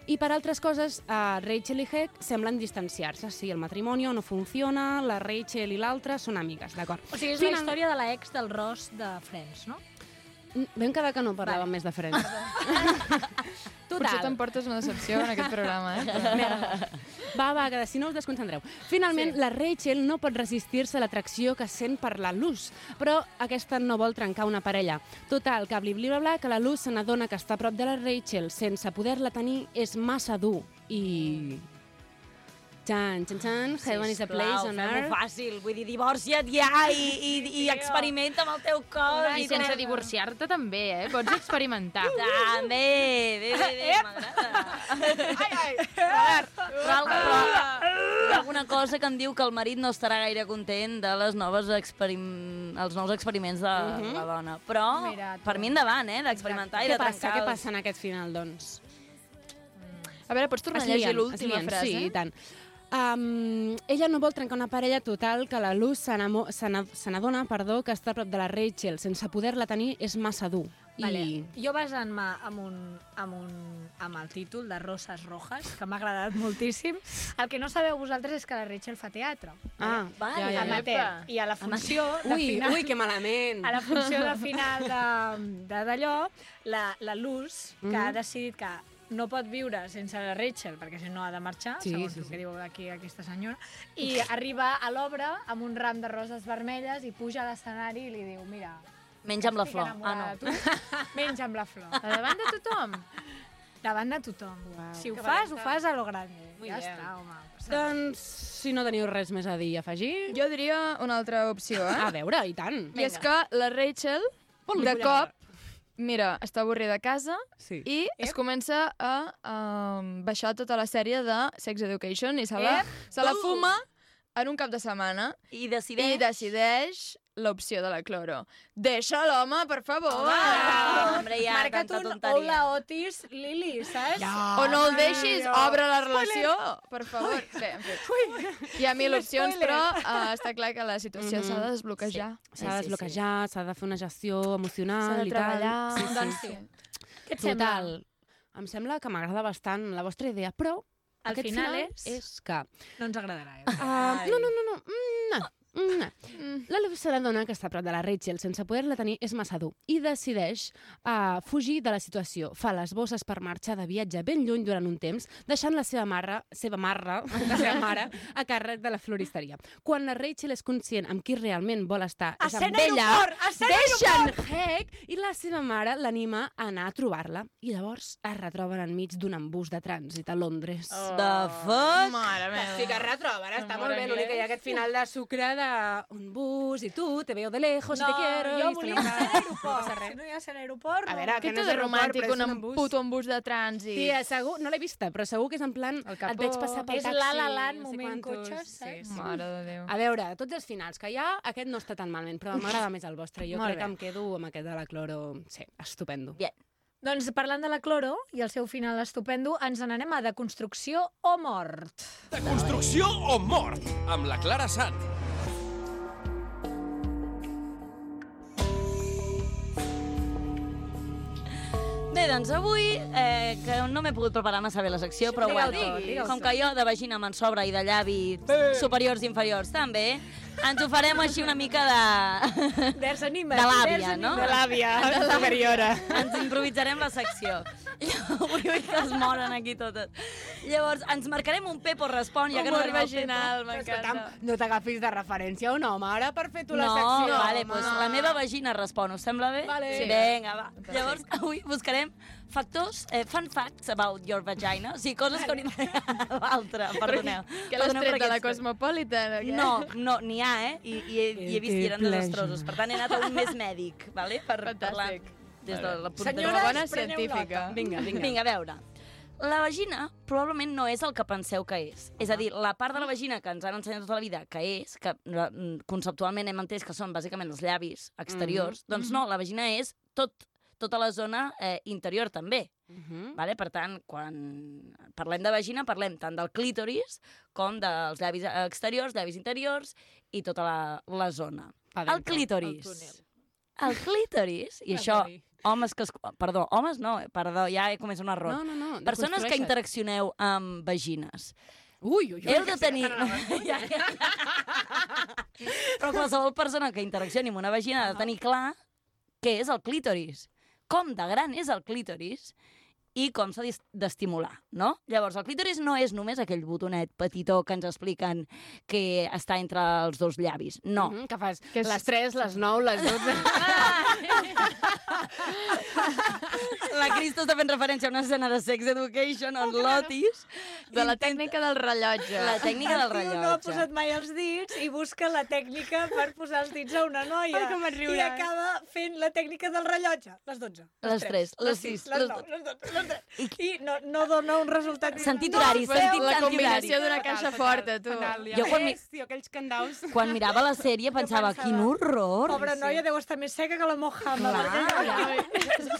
I per altres coses, eh, Rachel i Heck semblen distanciar-se. Sí, el matrimoni no funciona, la Rachel i l'altra són amigues, d'acord?
O sigui, és
Final-
la història de la ex del Ross de Friends, no?
Vam quedar que no parlàvem més de Friends. Total.
Potser t'emportes una decepció en aquest programa, eh?
Va, va, que si no us desconcentreu. Finalment, sí. la Rachel no pot resistir-se a l'atracció que sent per la Luz, però aquesta no vol trencar una parella. Total, que bli, bli, bla, bla, que la Luz se n'adona que està a prop de la Rachel sense poder-la tenir és massa dur i... Chan, chan, chan, Heaven is a place on
fem-ho
earth.
fàcil. Vull dir, divorcia't ja i, i, i experimenta amb el teu cos.
I sense divorciar-te també, eh? Pots experimentar.
També, Ah, bé, bé, bé, m'agrada. Però, al- però, però alguna cosa que em diu que el marit no estarà gaire content de les noves experim... els nous experiments de
Mhm.
la dona. Però,
Mira tu.
per mi endavant, eh, d'experimentar i de
Què passa,
trencar
què
els-
passa en aquest final, doncs?
A veure, pots tornar a llegir l'última frase?
Sí, i tant. Um, ella no vol trencar una parella total que la Luz se n'amo- se n'a- se n'adona perdó, que està a prop de la Rachel. Sense poder-la tenir és massa dur.
Vale.
I...
Jo basant-me amb, un, amb, un, amb el títol de Roses Rojas, que m'ha agradat moltíssim, el que no sabeu vosaltres és que la Rachel fa teatre.
Ah,
vale. Amateur. I a la funció de
Ui,
final-
ui, que malament.
A la funció de final de- de- d'allò, la, la Luz, que
Mhm.
ha decidit que no pot viure sense la Rachel, perquè si no ha de marxar,
Sí,
segons
sí,
el
sí.
que diu aquí aquesta senyora, i arriba a l'obra amb un ram de roses vermelles i puja a l'escenari i li diu, mira...
Menja amb la
estic
flor."
enamorada
Ah, no.
de Tu, menja amb la flor. Davant de tothom. Davant de tothom. Si ho
Que
fas, ho
valenta.
fas a lo grande.
Muy
ja
bien.
està, home.
Doncs, si no teniu res més a dir, afegir...
Jo diria una altra opció, eh?
A veure, i tant.
I és que la Rachel, de
Pel·lícula.
cop, mira, està avorrida a casa
Sí.
i es comença a um, baixar tota la sèrie de Sex Education i se la,
Ep.
se la
Uh.
fuma en un cap de setmana.
I decideix...
I decideix l'opció de la cloro. Deixa l'home, per favor!
Home, hombre, ja,
Marca't
tanta
un
tonteria.
hola
Otis, Lili, saps?
O no el deixis, obre la relació, per favor. Bé, en fi. Hi ha mil
Quin
opcions,
spoiler.
però uh, està clar que la situació s'ha de desbloquejar.
S'ha de desbloquejar, s'ha de fer una gestió emocional
S'ha de
i tal.
treballar. Doncs sí.
Què
et sembla?
Em sembla que m'agrada bastant la vostra idea, però
Al
aquest
final
final
és-
és que...
No ens agradarà. Eh?
Ah, no, no, no, no. Mm, no. Mm, no. La Luz se n'adona que està a prop de la Rachel sense poder-la tenir és massa dur i decideix uh, fugir de la situació. Fa les bosses per marxar de viatge ben lluny durant un temps, deixant la seva marra, seva marra, la seva mare, a càrrec de la floristeria. Quan la Rachel és conscient amb qui realment vol estar, és amb
Escena
ella,
aeroport! Escena
deixen
aeroport!
Heck i la seva mare l'anima a anar a trobar-la i llavors es retroben enmig d'un embús de trànsit a Londres.
Oh. The fuck?
Mare meva. Sí que es retroben, està molt bé, l'únic que hi ha aquest final de sucre de un bus i tu, te veo de lejos i te quiero.
jo
i
volia ser a l'aeroport. Si no hi ha ser a l'aeroport, no.
A veure,
Què
que no
té
és
de
aeroport,
romàntic
però és
un,
un
em-
embús.
puto embús de trànsit?
Tia, segur, no l'he vista, però segur que és en plan...
capó.
Et veig passar pel
És
taxi.
La La Land,
no sé
moment
quantos.
cotxes, saps? Mare de Déu.
A veure, de tots els finals que hi ha, aquest no està tan malament, però m'agrada més el vostre. Jo
Molt
crec
bé.
que em quedo amb aquest de la cloro... Sí, estupendo.
Bien.
Doncs parlant de la Cloro i el seu final estupendo, ens n'anem a Deconstrucció o Mort.
De construcció o mort, amb la Clara Sant.
Bé, doncs avui, eh, que no m'he pogut preparar massa bé la secció, però
Digue-ho
bueno,
tot, digue-ho
com
tot.
que jo de vagina me'n sobra i de llavi superiors i inferiors també, ens ho farem així una mica de...
Desanima.
De l'àvia, no?
De l'àvia
Ens-
superiora.
Ens improvisarem la secció. Avui vull que es moren aquí totes. Llavors, ens marcarem un Pepo respon, ja que no
Humor
arriba el
vaginal,
Pepo.
m'encanta. No t'agafis de referència a un home, ara per fer tu la
no,
secció.
vale,
home.
pues la meva vagina respon, us sembla bé?
Vale.
Sí.
Sí.
Vinga, va. Llavors, avui buscarem factors, eh, fun facts about your vagina, o sigui, coses que hauríem de l'altra, perdoneu.
Que l'has
Perdoneu per
tret de la
aquests-
Cosmopolitan, o què?
No, no, n'hi ha, eh? I, i, he, i he vist i eren
pleasure.
desastrosos. Per tant, he anat a un més mèdic, vale? per parlar des de la punta
Senyores, Una bona preneu científica. nota.
Vinga, vinga. Vinga, a veure. La vagina probablement no és el que penseu que és. És a dir, la part de la vagina que ens han ensenyat tota la vida que és, que mm, conceptualment hem entès que són bàsicament els llavis exteriors,
Mhm.
doncs no, la vagina és tot, tota la zona eh, interior també.
Mhm.
Vale? Per tant, quan parlem de vagina, parlem tant del clítoris com dels llavis exteriors, llavis interiors i tota la, la zona. El clítoris. El clítoris, i això, homes que... Es... Perdó, homes no, eh, perdó, ja he comès un error.
No, no, no,
Persones que
deconstrueixa't.
interaccioneu amb vagines.
Ui, ui, ui.
Heu de tenir... Ja, ja. Però qualsevol persona que interaccioni amb una vagina ha de tenir clar què és el clítoris, com de gran és el clítoris i com s'ha d'est- d'estimular, no? Llavors, el clítoris no és només aquell botonet petitó que ens expliquen que està entre Mm-hmm. els dos llavis, no. Ah,
Mhm, que fas les 3, les 9, les 12...
La Crista està fent referència a una escena de Sex Education on Lotis... Oh, De la tècnica del rellotge. La tècnica del
El tio
rellotge.
no ha posat mai els dits i busca la tècnica per posar els dits a una noia.
Ai, com et riuràs.
Ah, I acaba fent la tècnica del rellotge. Les 12.
Les tres, les
les
sis,
6, les
les
9, les 12, les 3. I no, no dona un resultat.
Sentit
No,
horari,
però
sentit
la
tanti
combinació
horari.
d'una caixa forta, tu.
Jo quan, mi-
Tio, aquells candaus.
quan mirava la sèrie pensava, quin horror.
Pobra noia, deu estar més seca que la Mojama.
Clar.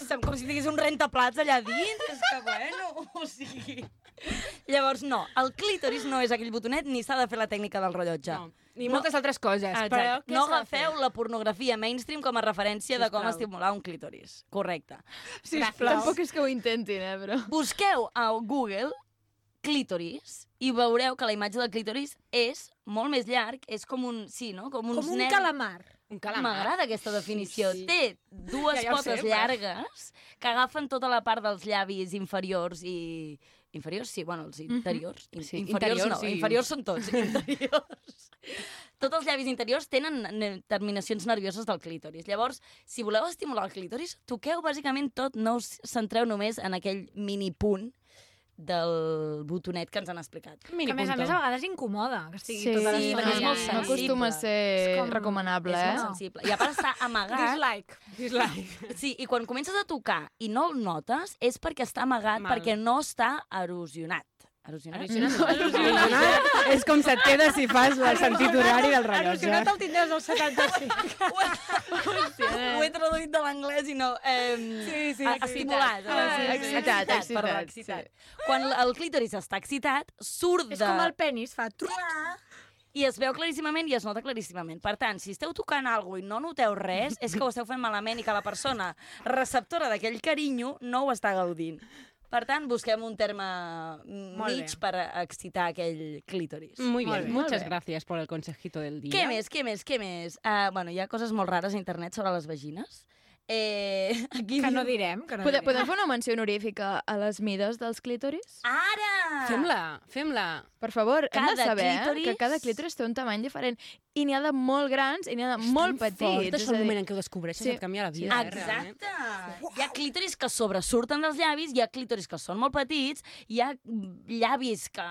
Sembla
com si tingués un rentaplats allà dins. És que bueno, o sigui... Llavors, no, el clítoris no és aquell botonet ni s'ha de fer la tècnica del rellotge. No. Ah,
Ni moltes altres coses, però què
no
s'ha de
agafeu la pornografia mainstream com a referència de com estimular un clítoris. Correcte.
Sisplau. Tampoc és que ho intentin, eh, però...
Busqueu a Google clítoris i veureu que la imatge del clítoris és molt més llarg, és com un, sí, no? Com, uns
Com un
nervis.
calamar.
Un
calamar.
M'agrada aquesta definició.
Sí, sí.
Té dues
Ja, ja ho
potes
sé, però-
llargues que agafen tota la part dels llavis inferiors i... Inferiors, sí, bueno, els interiors.
Mhm.
In-
Sí,
inferiors
interiors,
no,
sí.
inferiors són tots. Interiors. Tots els llavis interiors tenen ne- terminacions nervioses del clítoris. Llavors, si voleu estimular el clítoris, toqueu bàsicament tot, no us centreu només en aquell mini punt del botonet que ens han explicat.
que a més a més a vegades incomoda que estigui
Sí,
tota
sí, perquè és molt
No
sensible.
acostuma a ser
com-
recomanable,
és
eh?
molt sensible. I a part està amagat.
Dislike.
Dislike. Sí, i quan comences a tocar i no el notes és perquè està amagat, Mal. perquè no està erosionat. Erosionat? Mm.
És com se et queda si fas el sentit horari del rellotge.
Erosionat el tindràs al 75.
Ho he traduït de l'anglès i no... Eh, sí,
sí,
a,
excitat.
estimulat.
Ah, sí, sí. Excitat,
Excitat, perdó,
excitat,
excitat. Quan l- el clítoris està excitat, surt de...
És com el penis, fa... truc.
I es veu claríssimament i es nota claríssimament. Per tant, si esteu tocant alguna i no noteu res, és que ho esteu fent malament i que la persona receptora d'aquell carinyo no ho està gaudint. Per tant, busquem un terme mm,
Molt bé.
mig per excitar aquell clítoris.
Muy bien,
molt
muchas
bé.
gracias por el consejito del día.
Què més, què més, què més? Uh, bueno, hi ha coses molt rares a internet sobre les vagines. Eh, aquí
Que no
direm,
Podem, podem fer una menció honorífica a les mides dels clítoris?
Ara!
Fem-la, fem-la.
Per favor, hem de
Cada
saber eh,
clítoris-
que cada clítoris té un tamany diferent. I n'hi ha de molt grans i n'hi ha de molt petits.
fortes,
és a
el
dir-
moment en
què ho descobreixes
et canvia la vida, eh,
Exacte.
realment. Hi ha clítoris que sobresurten dels llavis, hi ha clítoris que són molt petits, hi ha llavis que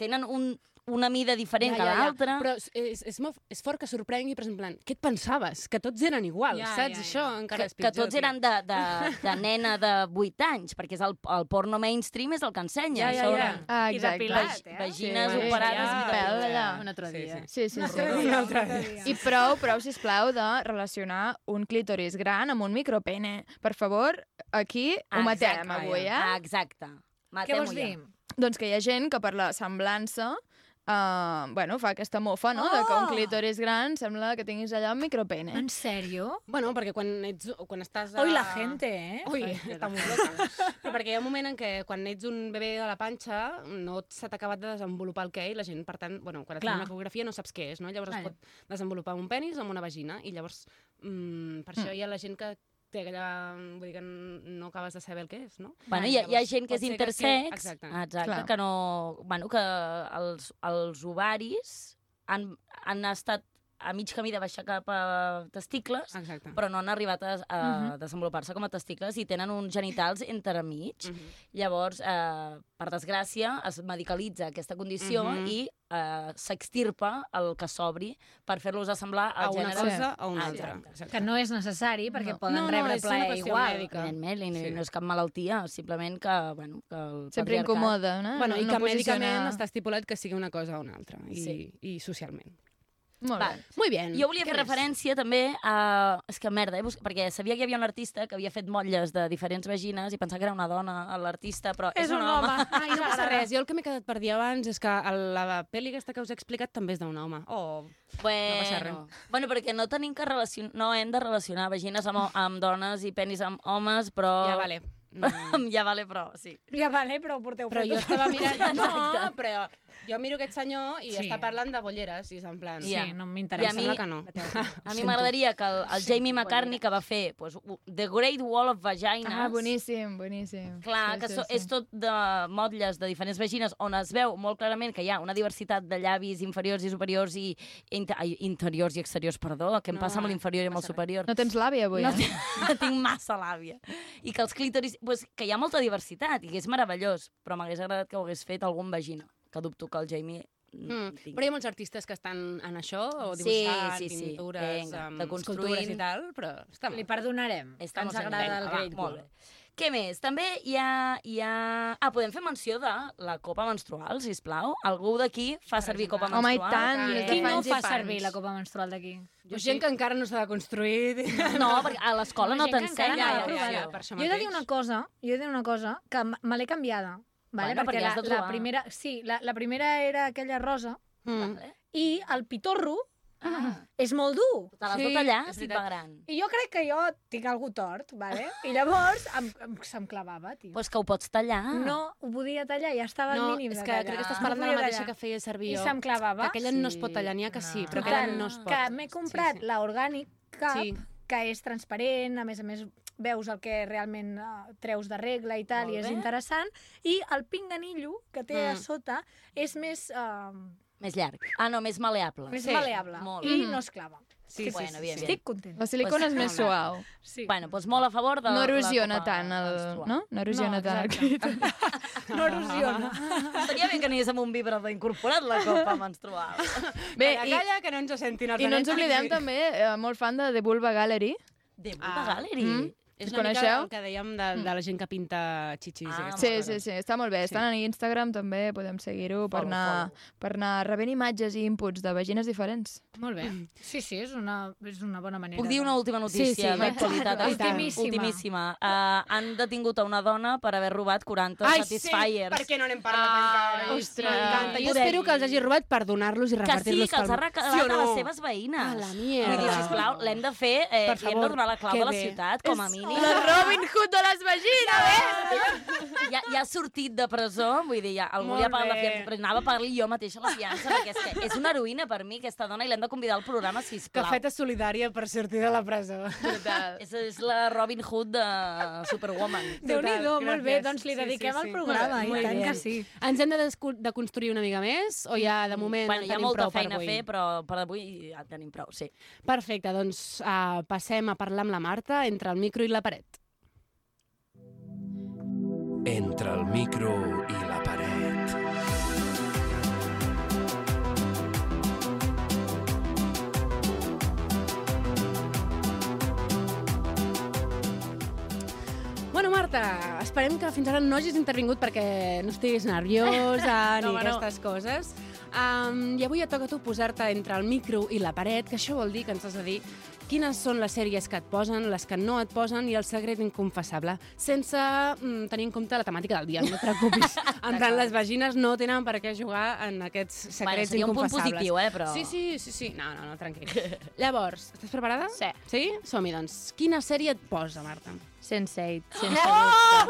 tenen un, una mida diferent ja, que l'altra.
Però és, és, és, molt, és fort que sorprengui, però és en plan, què et pensaves? Que tots eren igual,
Ja, ja,
saps?
ja.
Això encara és
que, que
pitjor.
tots eren de, de, de nena de 8 anys, perquè és el, el porno mainstream és el que ensenya.
Ja, ja,
sobre
ja. Ah, I exacte. depilat, eh?
Vagines
Sí, sí,
operades
ja.
i
Pèl allà.
depilat.
Un altre
dia.
Sí, sí, sí.
Un altre
dia. I prou, prou, sisplau, de relacionar un clítoris gran amb un micropene. Per favor, aquí ho matem
Exacte.
avui, eh?
Ah, Exacte. Matem-ho
vols
ja.
dir? Doncs que hi ha gent que per la semblança Uh, bueno, fa aquesta mofa, no? Oh! De que un clítoris gran sembla que tinguis allà un micropene.
Doncs
En sèrio?
Bueno, perquè quan ets... Quan estàs a...
Ui, la gente, eh?
Ui,
Ai,
està molt loca. Però perquè hi ha un moment en què quan ets un bebè de la panxa no et- s'ha acabat de desenvolupar el què i la gent, per tant, bueno, quan et
Clar.
fan una ecografia no saps què és, no? Llavors
Clar.
es pot desenvolupar amb un penis o amb una vagina i llavors mm, per això
Mm.
hi ha la gent que té aquella... Vull dir que no acabes de saber el que és, no?
Bueno, hi ha, hi ha
Llavors,
gent que és
pot ser
intersex,
sigui-
exacte,
Exacte.
exacte que no... Bueno, que els, els ovaris han, han estat a mig camí de baixar cap a testicles,
Exacte.
però no han arribat a, a
Mhm.
desenvolupar-se com a testicles i tenen uns genitals entremig.
Mhm.
Llavors, eh, per desgràcia, es medicalitza aquesta condició
Mhm.
i eh, s'extirpa el que s'obri per fer-los assemblar al
A una
gènere...
cosa o a una altra.
Exacte.
Exacte.
Que no és necessari perquè poden
No, no,
rebre
és una
plaer
qüestió
igual.
mèdica. Evidentment, i no, sí. no és cap malaltia, simplement que, bueno, que el
Sempre
patriarcat-
incomoda, no?
Bueno, i
no
que
posiciona-
mèdicament està estipulat que sigui una cosa o una altra, i, sí.
Sí.
i socialment.
Molt
Va.
bé. Muy bien.
Jo volia
Què
fer
més?
referència també a... És que merda, eh? bus- perquè sabia que hi havia un artista que havia fet motlles de diferents vagines i pensava que era una dona l'artista, però és,
Ai, no passa res. Jo el que m'he quedat per dir abans és que el- la pel·li aquesta que us he explicat també és d'un home. Oh,
Bueno,
no passa res.
bueno, perquè no tenim que relacion... no hem de relacionar vagines amb, amb dones i penis amb homes, però...
Ja vale. Mm.
ja vale, però sí.
Ja vale, però tota ho porteu
Però
fet
jo
tot.
estava mirant... No, però jo miro aquest senyor i sí. està parlant de bolleres i és en plan...
Ja. I a mi-
Sembla que no.
A mi m'agradaria que el, el
Sí,
Jamie McCartney, que va fer pues, u- The Great Wall of Vagines...
Ah, boníssim, boníssim.
Clar, sí, que so, és tot de motlles de diferents vagines on es veu molt clarament que hi ha una diversitat de llavis inferiors i superiors i inter, ai, interiors i exteriors, perdó, que em
No,
passa amb l'inferior i amb el superior.
No tens l'àvia avui, eh?
No tinc, tinc massa l'àvia. I que els clítoris... Pues, que hi ha molta diversitat i que és meravellós, però m'hagués agradat que ho hagués fet algun vagina, que dubto que el Jamie...
Mm. Però hi ha molts artistes que estan en això, o
Sí,
dibuixant,
sí, sí.
pintures,
Vinga,
amb
de construint.
escultures i tal, però està molt. Li perdonarem,
Està molt sent- Vinga, va, molt bé. Què més? També hi ha, hi ha... Ah, podem fer menció de la copa menstrual, si plau. Algú d'aquí fa servir copa
Home, i
menstrual?
tant, des de
Qui no
fans i
fa
fans.
servir la copa menstrual d'aquí?
Jo gent que encara no s'ha de construir...
No, perquè a l'escola no
Gent que
Ah,
t'ensenya.
encara no l'ha
ja,
provat.
ja, per això
Jo he de
mateix.
dir una cosa, jo he de dir una cosa, que m- me l'he canviada. Vale?
Bueno, perquè
perquè la,
has de
la
trobar.
primera, sí, la, la primera era aquella rosa,
mm.
i el pitorro
Ah.
és molt dur.
Te l'has de tallar, sí, estic pagant.
I jo crec que jo tinc algú tort, vale? i llavors em, em, se'm clavava, tio.
Pues que ho pots tallar.
No, ho podia tallar, ja estava
ah. No,
al mínim
és
de
que
tallar.
crec que estàs parlant de
No
la
podia
mateixa
tallar.
que feia servir
I
jo.
se'm clavava.
Que aquella no es pot tallar, n'hi ha que sí, però aquella no es pot.
Que m'he comprat sí, sí. l'orgànic cap,
Sí.
sí. que és transparent, a més a més veus el que realment eh, treus de regla i tal,
Molt
i és
bé.
interessant. I el pinganillo que té
Mm.
a sota és més... Eh,
Més llarg. Ah, no, més maleable.
més maleable Mm,
Molt.
i no es clava.
Sí, sí, bueno, bien, bien.
Estic contenta.
La silicona és més suau.
Sí.
Bueno, doncs molt a favor de
No
la
erosiona
copa
tant, el, no? No erosiona
No,
tant el crit.
No erosiona.
Estaria bé que anés amb un vibrador incorporat la copa menstrual.
Bé,
Calla,
i,
calla, que no ens ho sentin els
i no ens
altres.
oblidem també, eh, molt fan de The Vulva Gallery.
De
Ah.
Vulva Gallery.
Mm.
És
Us
una mica
coneixeu?
el que dèiem de, de la gent que pinta xixis. i aquestes
sí,
coses.
sí, sí, està molt bé. Estan a Instagram també, podem seguir-ho per,
Follow,
anar, per anar rebent imatges i inputs de vagines diferents.
Molt bé. Mm. Sí, sí, és una, és una bona manera.
Puc dir una última notícia
Sí, sí,
d'actualitat?
i tant.
Estan-
Ultimíssima.
Ultimíssima. Uh, han detingut a una dona per haver robat 40
Ai, sí,
Satisfiers.
per què no n'hem
parlat Ai, encara?
Ostres, m'encanta. Jo espero que els hagi robat per donar-los i
Que sí,
repartir-los.
que els ha regalat
sí o
a
no?
les seves veïnes.
A la mierda.
Vull dir, sisplau, l'hem de fer, eh,
Per
li hem de
favor,
donar la clau
que
de la
bé.
ciutat, com a mínim.
La Robin Hood de les vagines!
Ja, ja ha sortit de presó, vull dir, ja, algú
Molt
li ha pagat la
bé.
fiança, però anava a pagar-li jo mateixa la fiança, perquè és, que és una heroïna per mi, aquesta dona, i l'hem de convidar al programa, sisplau.
Cafeta solidària per sortir de la presó.
eh,
És, és la Robin Hood de Superwoman.
Déu-n'hi-do, molt bé, doncs li
Sí, sí,
dediquem
sí.
el programa,
Molt
i
bé,
tant
molt
que
bé.
sí.
Ens hem de, descu- de construir una mica més o ja de moment
Mm, bueno,
en
hi ha
tenim
molta
prou
feina
per
a
avui?
fer, però per avui ja en tenim prou, sí.
Perfecte, doncs uh, passem a parlar amb la Marta entre el micro i la paret.
Entre el micro i la paret.
Bueno, Marta, esperem que fins ara no hagis intervingut perquè no estiguis nerviosa
No,
ni
bueno.
aquestes coses. Um, I avui et toca a tu posar-te entre el micro i la paret, que això vol dir que ens has de dir quines són les sèries que et posen, les que no et posen i el secret inconfessable, sense mm, tenir en compte la temàtica del dia, no et preocupis. en plan, les vagines no tenen per què jugar en aquests secrets
Bueno, seria un punt
inconfessables.
positiu, eh, però-
Sí, sí, sí, sí. No, no, no, tranquil. Llavors, estàs preparada? Sí. Sí? Som-hi, doncs. Quina sèrie et posa, Marta?
Sense8.
Oh!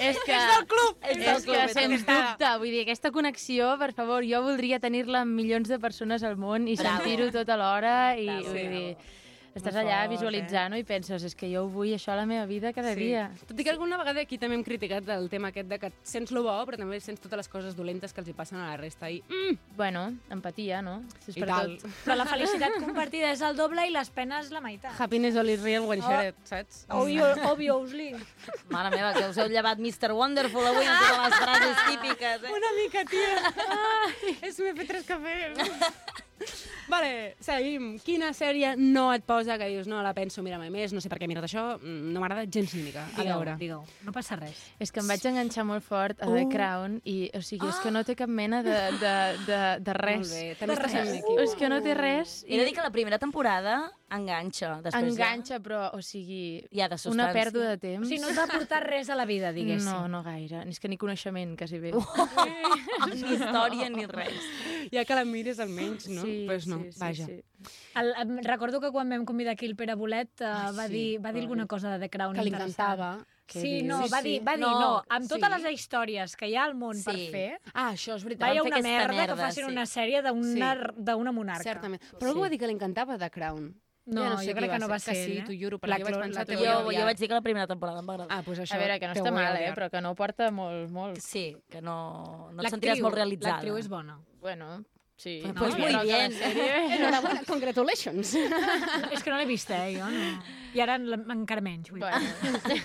És que,
És del club!
És,
És del club,
que,
és
sens
aquesta.
dubte, vull dir, aquesta connexió, per favor, jo voldria tenir-la amb milions de persones al món i
Bravo.
sentir-ho tot alhora i,
Bravo.
vull dir, estàs
Molt
allà
fort,
visualitzant-ho i penses, és que jo ho vull això a la meva vida cada dia.
Tot i que alguna vegada aquí també hem criticat el tema aquest de que sents lo bo, però també sents totes les coses dolentes que els hi passen a la resta. I, mm,
bueno, empatia, no? Si és
I
per
tal.
tot.
Però la felicitat compartida és el doble i les penes la meitat.
Happiness only is real when
Oh.
shared, saps?
Obvio, obviously.
Mare meva, que us heu llevat Mr. Wonderful avui amb totes les frases típiques, eh?
Una mica, tia. Ai, és m'he fet tres cafès. Vale, seguim. Quina sèrie no et posa que dius no la penso, mira-me més, no sé per què he mirat això, mm, no m'agrada gens ni mica. A
Digue-ho,
veure.
digue-ho.
No passa res.
És que em vaig enganxar molt fort a The
Uh.
Crown i, o sigui,
Ah!
és que no té cap mena de, de, de, de res.
Molt bé, també
De
estàs amb
res.
l'equip.
És que no té res.
He de dir que la primera temporada enganxa. Després
Enganxa, però, o sigui...
Ja, de
una
substància.
pèrdua de temps.
O sigui, no et va
aportar res a la vida,
diguéssim.
Mm. No, no gaire. Ni és que ni coneixement, quasi bé.
Ja, ni història ni res.
Ja que la mires almenys, no?
Sí,
pues no,
sí, sí,
vaja.
sí.
El, em recordo que quan vam convidar aquí el Pere Bolet uh, va,
sí,
dir, va dir alguna cosa de The Crown
Que li
interessant.
encantava.
Què sí, no, va dir, va dir, no, amb totes les històries que hi ha al món per
Sí.
fer,
ah, això és veritat,
vaya
van fer
una
aquesta
merda,
merda,
que facin
sí.
una sèrie d'una
Sí.
d'una monarca.
Certament. Però algú va dir que li encantava The Crown.
No, jo crec que no va ser
Que sí,
ella.
t'ho juro,
La
perquè jo vaig
Clo- la
pensar...
Clo-
t'ho
Jo,
odiava.
jo vaig dir que la primera temporada em va agradar.
Ah, doncs això
A veure, que no
te
està
ho vull
mal, eh?
odiar.
Però que no porta molt, molt.
Sí, que no, no et
L'actriu-
sentiràs molt realitzada.
l'actriu és
bona.
Bueno, sí.
Pues- pues muy bien.
Enhorabuena, congratulations.
És que no l'he vista, eh, jo, no. I ara la- encara menys, vull dir.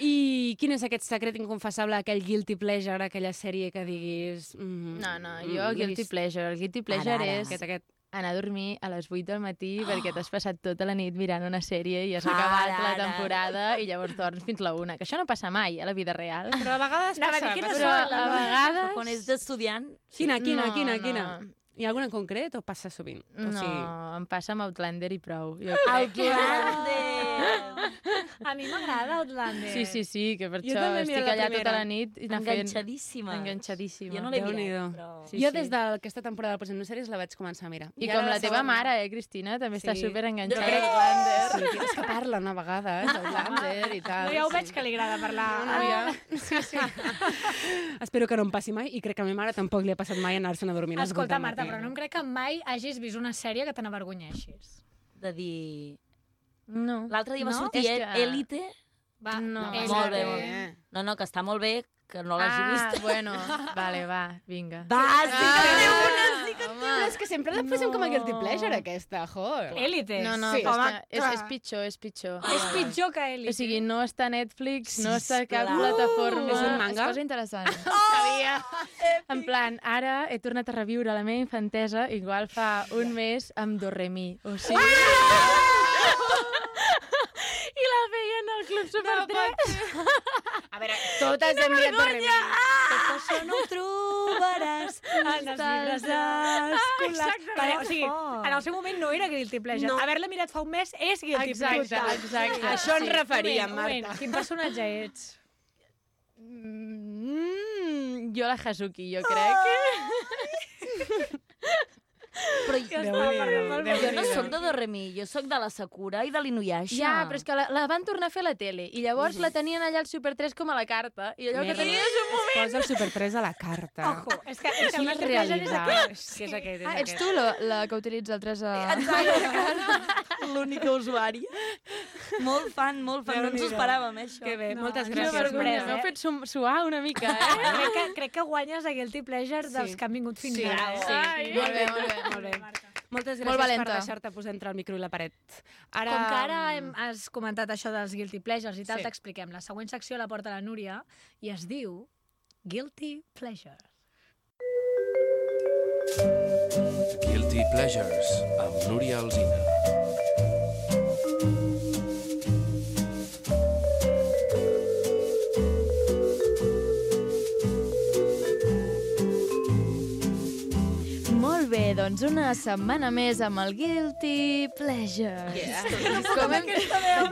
I quin és aquest secret inconfessable, aquell guilty pleasure, aquella sèrie que diguis... Mm,
No, no, jo guilty pleasure. El guilty pleasure
Ara, ara.
és
Aquest, aquest.
anar a dormir a les 8 del matí perquè t'has passat tota la nit mirant una sèrie i has acabat
Ara,
la
ara.
temporada i llavors dorms fins la una. Que això no passa mai a la vida real. Però a vegades
Anava a dir,
passa.
quines
però
són les
a
noies?
vegades...
Quan ets estudiant...
Quina, quina,
No,
quina,
no.
quina? Hi ha alguna en concret o passa sovint?
No,
O sigui...
em passa amb Outlander i prou. Jo
Outlander! A mi m'agrada Outlander.
Sí, sí, sí, que per
Jo
això
també miro
estic
la
allà tota
primera.
la nit. i anar fent-
Enganxadíssima.
Enganxadíssima.
Jo no l'he
Déu-n'hi-do.
mirat, però...
Sí, jo des d'aquesta temporada de Present No Sèries la vaig començar a mirar.
I com la teva mare, eh, Cristina, també està
Sí.
superenganxada.
Jo crec-
a Outlander.
Sí, tio, és que parlen a vegades, Outlander i tal.
No, ja ho veig que li agrada parlar.
No, no, ja.
Sí, sí.
Espero que no em passi mai i crec que a la meva mare tampoc li ha passat mai anar-se'n a dormir. a les vuit
Escolta,
del
Marta,
matí.
però no em crec que mai hagis vist una sèrie que te n'avergonyeixis.
De dir...
No.
L'altre dia va
No?
sortir
És
eh,
que-
Elite.
Va,
no,
Molt bé,
va
molt
ser
bé.
bé.
No, no, que està molt bé, que no l'hagi
Ah,
vist. Ah.
bueno, vale, va, vinga. Ah,
Va, sí que té una,
sí que té
Però és que sempre la posem com a guilty pleasure, aquesta, jor.
Élite.
No, no,
Sí.
sí. és,
Home,
que és,
clar.
és pitjor, és pitjor.
És pitjor que Elite.
O sigui, no està a Netflix, no està a cap
Sisplau.
plataforma.
Uh! És un manga?
És cosa interessant. Oh! Sabia. En plan, ara he tornat a reviure la meva infantesa, igual fa un mes, amb Doremi. O sigui... I la veien al Club Super 3.
A veure, totes hem mirat de remei.
Tot això no ho trobaràs en els
llibres
eh?
escolars.
Exacte, Vale, o sigui, en el seu moment no era guilty pleasure.
No.
No. Haver-la mirat fa un mes és guilty
Exacte,
pleasure.
exacte.
Sí.
Això ens
Sí.
referíem,
Un moment, un
Marta.
moment. Quin personatge ets?
Mm, jo la Hazuki, jo crec. Ja
Però
està, Déu-n'hi-do, perdó, perdó.
jo no
Déu-n'hi-do.
sóc de Doremi, jo sóc de la Sakura i de l'Inuyasha.
Ja, però és que la, la van tornar a fer a la tele i llavors la tenien allà al Super 3 com a la carta i allò que
Merda.
tenies un moment...
Es posa el Super 3 a la carta.
Ojo, és que, és que el
Quina
guilty pleasure és
realitat.
aquest. Sí. És aquest, és
Ah, ets
aquest.
tu la, la que utilitza el 3 a...
L'única usuària. Molt fan, molt fan. No ens ho esperàvem, eh, això.
Que bé,
No,
moltes
quina
gràcies,
vergonya,
Marta.
eh?
no?
M'heu fet som- suar una mica, eh?
crec, que, crec que guanyes a guilty pleasure
Sí.
dels que han vingut fins
Sí,
ara. eh?
sí. Ai,
Molt bé, molt
molt bé.
bé. Molt bé.
Moltes
Molt
gràcies per
valenta.
deixar-te posar entre el micro i la paret.
Ara...
Ara...
Com que ara hem, has comentat això dels guilty pleasures i tal,
Sí.
sí. t'expliquem. La següent secció la porta la Núria i es diu Guilty Pleasure.
Guilty Pleasures, amb Núria Alzina.
Molt bé, doncs una setmana més amb el Guilty Pleasure. Yeah. Com hem...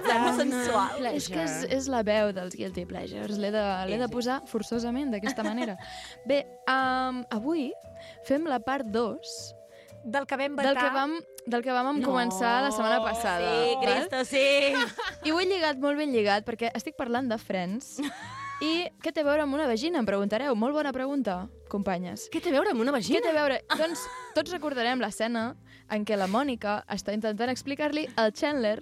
tan sensual.
És que és, és la veu dels Guilty Pleasures. L'he de, l'he de posar forçosament d'aquesta manera. Bé, um, avui fem la part 2
del que vam
Del que
vetar.
vam, del que vam
No.
començar la setmana passada.
Sí,
val?
Cristo, sí.
I ho he lligat molt ben lligat, perquè estic parlant de Friends. I què té a veure amb una vagina, em preguntareu? Molt bona pregunta, companyes.
Què té a veure amb una vagina?
Què té a veure? Doncs tots recordarem l'escena en què la Mònica està intentant explicar-li al Chandler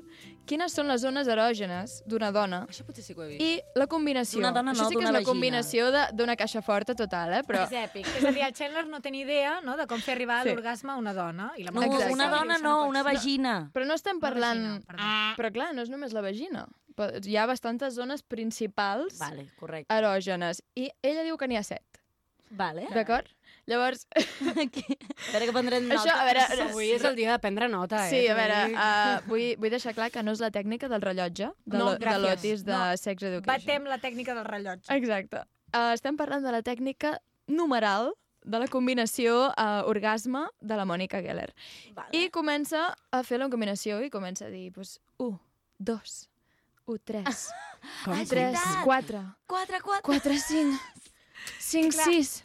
quines són les zones erògenes d'una dona.
Això potser sí que ho he vist.
I la combinació.
D'una dona,
Això sí
no,
que és
d'una
la
vagina.
combinació de- d'una caixa forta total, eh? Però...
És èpic. És a dir, el Chandler no té ni idea no, de com fer arribar
Sí.
a l'orgasme a una dona. I la
No,
Mònica
una
diu,
dona
"Això
no,
pot
una
ser".
vagina.
Però no estem parlant...
Ah,
però clar, no és només la vagina. Pe- Hi ha bastantes zones principals
Vale, correcte.
erògenes. I ella diu que n'hi ha set,
Ah, Vale.
d'acord? Llavors...
A veure que prendrem nota.
Això, a veure...
Avui és el dia de prendre nota, eh?
Sí, a veure,
T'ho dic.
uh, vull, vull deixar clar que no és la tècnica del rellotge, de,
No,
lo- de
gràcies.
l'Otis de
No.
Sex Education.
Batem la tècnica del rellotge.
Exacte. Uh, estem parlant de la tècnica numeral de la combinació uh, orgasme de la Mònica Geller. Vale. I comença a fer la combinació i comença a dir, doncs, 1, 2, 1, 3,
Com, com,
3,
com?
4,
4, 4,
4, 5, 5,
Clar.
6,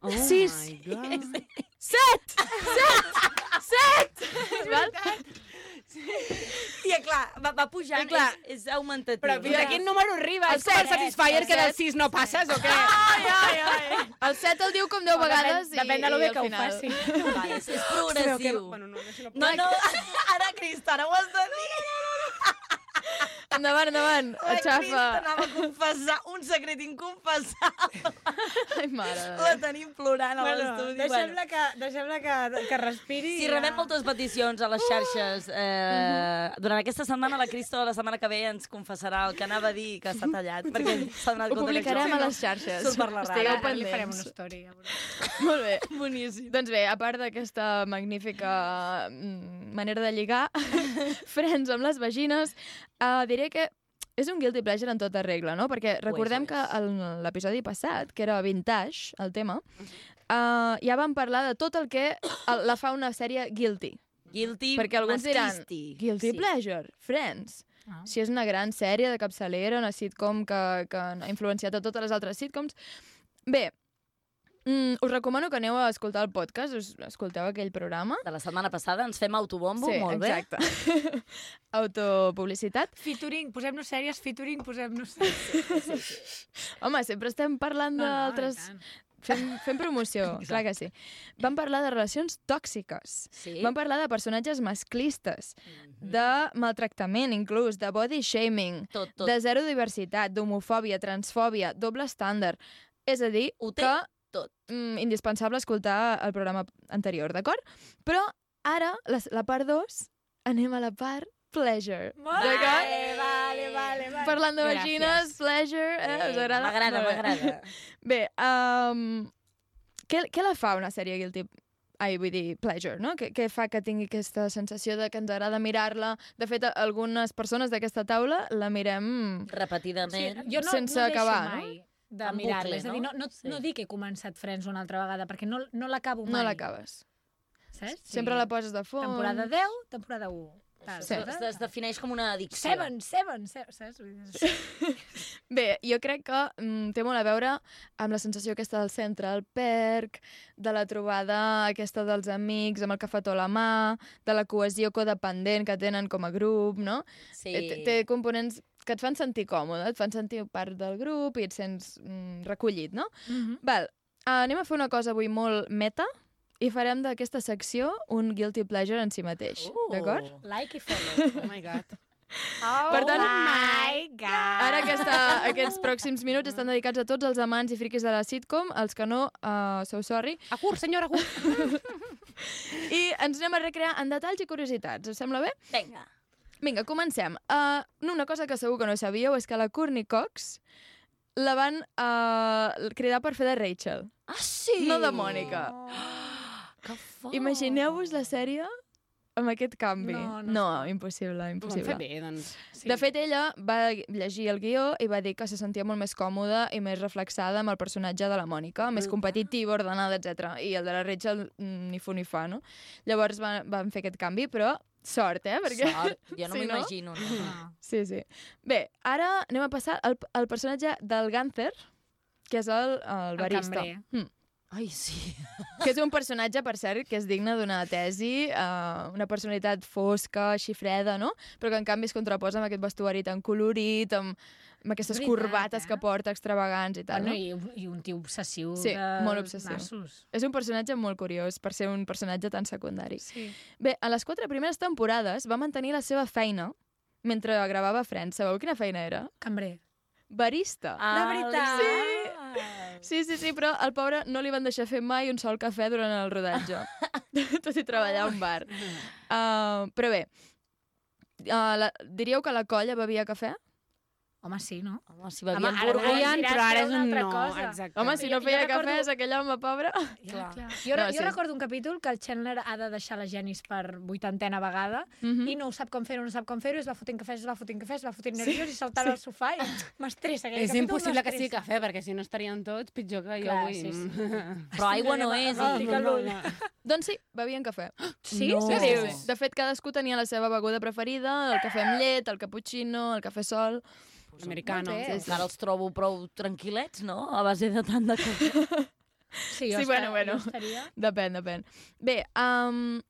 Oh
6,
my God.
7, 7, 7!
I clar, va, va pujant, Eh, clar. És, és augmentatiu.
Però fins a quin número arribes? És com el Satisfyer que del 6 no passes o què?
El 7 el diu com 10
Bueno,
vegades i,
depèn- depèn de lo
i
bé
al
que ho
final.
faci.
Vale, és, és progressiu.
Però que-
bueno, no, no, no, ara, Crista, ara ho has de dir.
Endavant, endavant,
Ai, Crista,
aixafa.
anava a confessar un secret inconfessable.
Ai, mare.
La tenim plorant a
Bueno,
l'estudi.
deixem-la que, deixem que, que respiri.
Si rebem moltes peticions a les xarxes, eh,
Uh-huh.
durant aquesta setmana la Cristo la setmana que ve ens confessarà el que anava a dir que s'ha tallat, perquè s'ha donat tota
Ho
compte que
publicarem
això
a les xarxes.
Surt per la
Estigueu
ràdio.
pendents. Li farem una
story.
Molt bé. Boníssim. Doncs bé, a part d'aquesta magnífica mm, manera de lligar frens amb les vagines, eh, diré que és un guilty pleasure en tota regla, no? Perquè recordem que en l'episodi passat, que era vintage, el tema, eh, ja vam parlar de tot el que el- la fa una sèrie guilty.
Guilty
Perquè alguns diran,
masquisti.
guilty
Sí. Ah.
pleasure, Friends. Si és una gran sèrie de capçalera, una sitcom que, que ha influenciat a totes les altres sitcoms. Bé, mm, us recomano que aneu a escoltar el podcast, us escolteu aquell programa.
De la setmana passada ens fem autobombo,
sí,
molt bé.
exacte. Autopublicitat.
Featuring, posem-nos sèries, featuring, posem-nos sèries.
Home, sempre estem parlant
No, no, i
d'altres... Fem, fem promoció, clar que sí. Vam parlar de relacions tòxiques,
sí. Mhm.
vam parlar de personatges masclistes, de maltractament inclús, de body shaming,
tot, tot.
de zero diversitat, d'homofòbia, transfòbia, doble estàndard. És a dir,
Ho té
que
tot.
Mm, indispensable escoltar el programa anterior, d'acord? Però ara, la, la part 2, anem a la part pleasure. D'acord?
vale, vale, vale.
Parlant de vagines, pleasure, eh? Us
Eh,
agrada?
m'agrada,
Molt bé.
m'agrada.
Bé, um, què, què la fa una sèrie guilty Ai, vull dir, pleasure, no? Què, què fa que tingui aquesta sensació de que ens agrada mirar-la? De fet, a- algunes persones d'aquesta taula la mirem...
Repetidament.
Jo no,
sense
no deixo
acabar,
mai
no?
de
En
mirar-la.
bucle,
És a dir,
no?
no, no, sí. no dic que he començat Friends una altra vegada, perquè no, no l'acabo mai.
No l'acabes.
Eh?
Saps?
Sempre la poses de fons.
Temporada 10, temporada 1. Tal,
Sí.
tal, tal.
Es defineix com una addicció.
Seven, seven, seven, saps? Vull dir,
Bé, jo crec que mm, té molt a veure amb la sensació aquesta del centre, el perc, de la trobada aquesta dels amics amb el cafetó a la mà, de la cohesió codependent que tenen com a grup, no?
Sí.
Eh, Té, té components que et fan sentir còmode, et fan sentir part del grup i et sents mm, recollit, no?
Mhm.
Val, anem a fer una cosa avui molt meta i farem d'aquesta secció un guilty pleasure en si mateix, d'acord?
Like i follow.
Oh my god.
Oh
Per tant,
my god.
Ah.
Ara aquesta, aquests pròxims minuts estan dedicats a tots els amants i friquis de la sitcom, els que no, uh, sou sorry.
A curt, senyora, a curt.
I ens anem a recrear en detalls i curiositats. Us sembla bé?
Vinga.
Vinga, comencem. Uh, una cosa que segur que no sabíeu és que la Courtney Cox la van uh, cridar per fer de Rachel.
Ah, sí?
No de Mònica. Oh, Imagineu-vos la sèrie amb aquest canvi.
No, no.
no impossible, impossible.
fer bé, doncs.
Sí. De fet, ella va llegir el guió i va dir que se sentia molt més còmoda i més reflexada amb el personatge de la Mònica, més competitiva, ordenada, etc. I el de la Rachel mm, ni fu ni fa, no? Llavors van, van fer aquest canvi, però sort, eh? Perquè... Ah.
Sort. Jo no m'imagino, no, no.
Sí, sí. Bé, ara anem a passar al, al personatge del Gàncer, que és el, el barista.
cambrer.
Mm.
Ai, sí.
Que és un personatge, per cert, que és digne d'una tesi, uh, una personalitat fosca, així freda, no? Però que en canvi es contraposa amb aquest vestuari tan colorit, amb, amb aquestes
Veritat, eh?
corbates que porta extravagants i tal,
Bueno,
no?
i, un- i un tio obsessiu
Sí,
de
molt obsessiu.
nassos.
És un personatge molt curiós per ser un personatge tan secundari.
Sí.
Bé, a les quatre primeres temporades va mantenir la seva feina mentre gravava Friends. Sabeu quina feina era?
Cambrer.
Barista.
Ah, De veritat?
Sí. sí, sí, sí, però al pobre no li van deixar fer mai un sol cafè durant el rodatge. Tot i treballar a un bar. Uh, però bé, uh, la, diríeu que la colla bevia cafè?
Home, sí, no?
Home, si
bevien Home, ara- ara bourbon. diràs que era una altra cosa.
Home, si no
Jo- jo
feia
recordo-
cafè, és aquell home pobre.
Clar. Jo, no,
No,
jo recordo un capítol que el Chandler ha de deixar la Janice per vuitantena vegada
Mhm.
i no ho sap com fer-ho, no sap com fer-ho, es va fotent cafè, es va fotent cafè, es va fotent nerviós i saltant al sofà i m'estressa. aquell
És
capítol
impossible que sigui
m'estressa.
cafè, perquè si no estarien tots pitjor que jo
Clar,
avui.
sí, sí.
Però aigua no és, i-
Doncs sí, bevien cafè.
Sí? No.
Sí,
Seriós?
sí. De fet, cadascú tenia la seva beguda preferida, el cafè amb llet, el cappuccino, el cafè sol...
Americano.
Molt bé.
Sí, sí. Ara els trobo prou tranquil·lets, no? A base de tant de cafè.
sí, bueno, bueno. Depèn, depèn. Bé, um,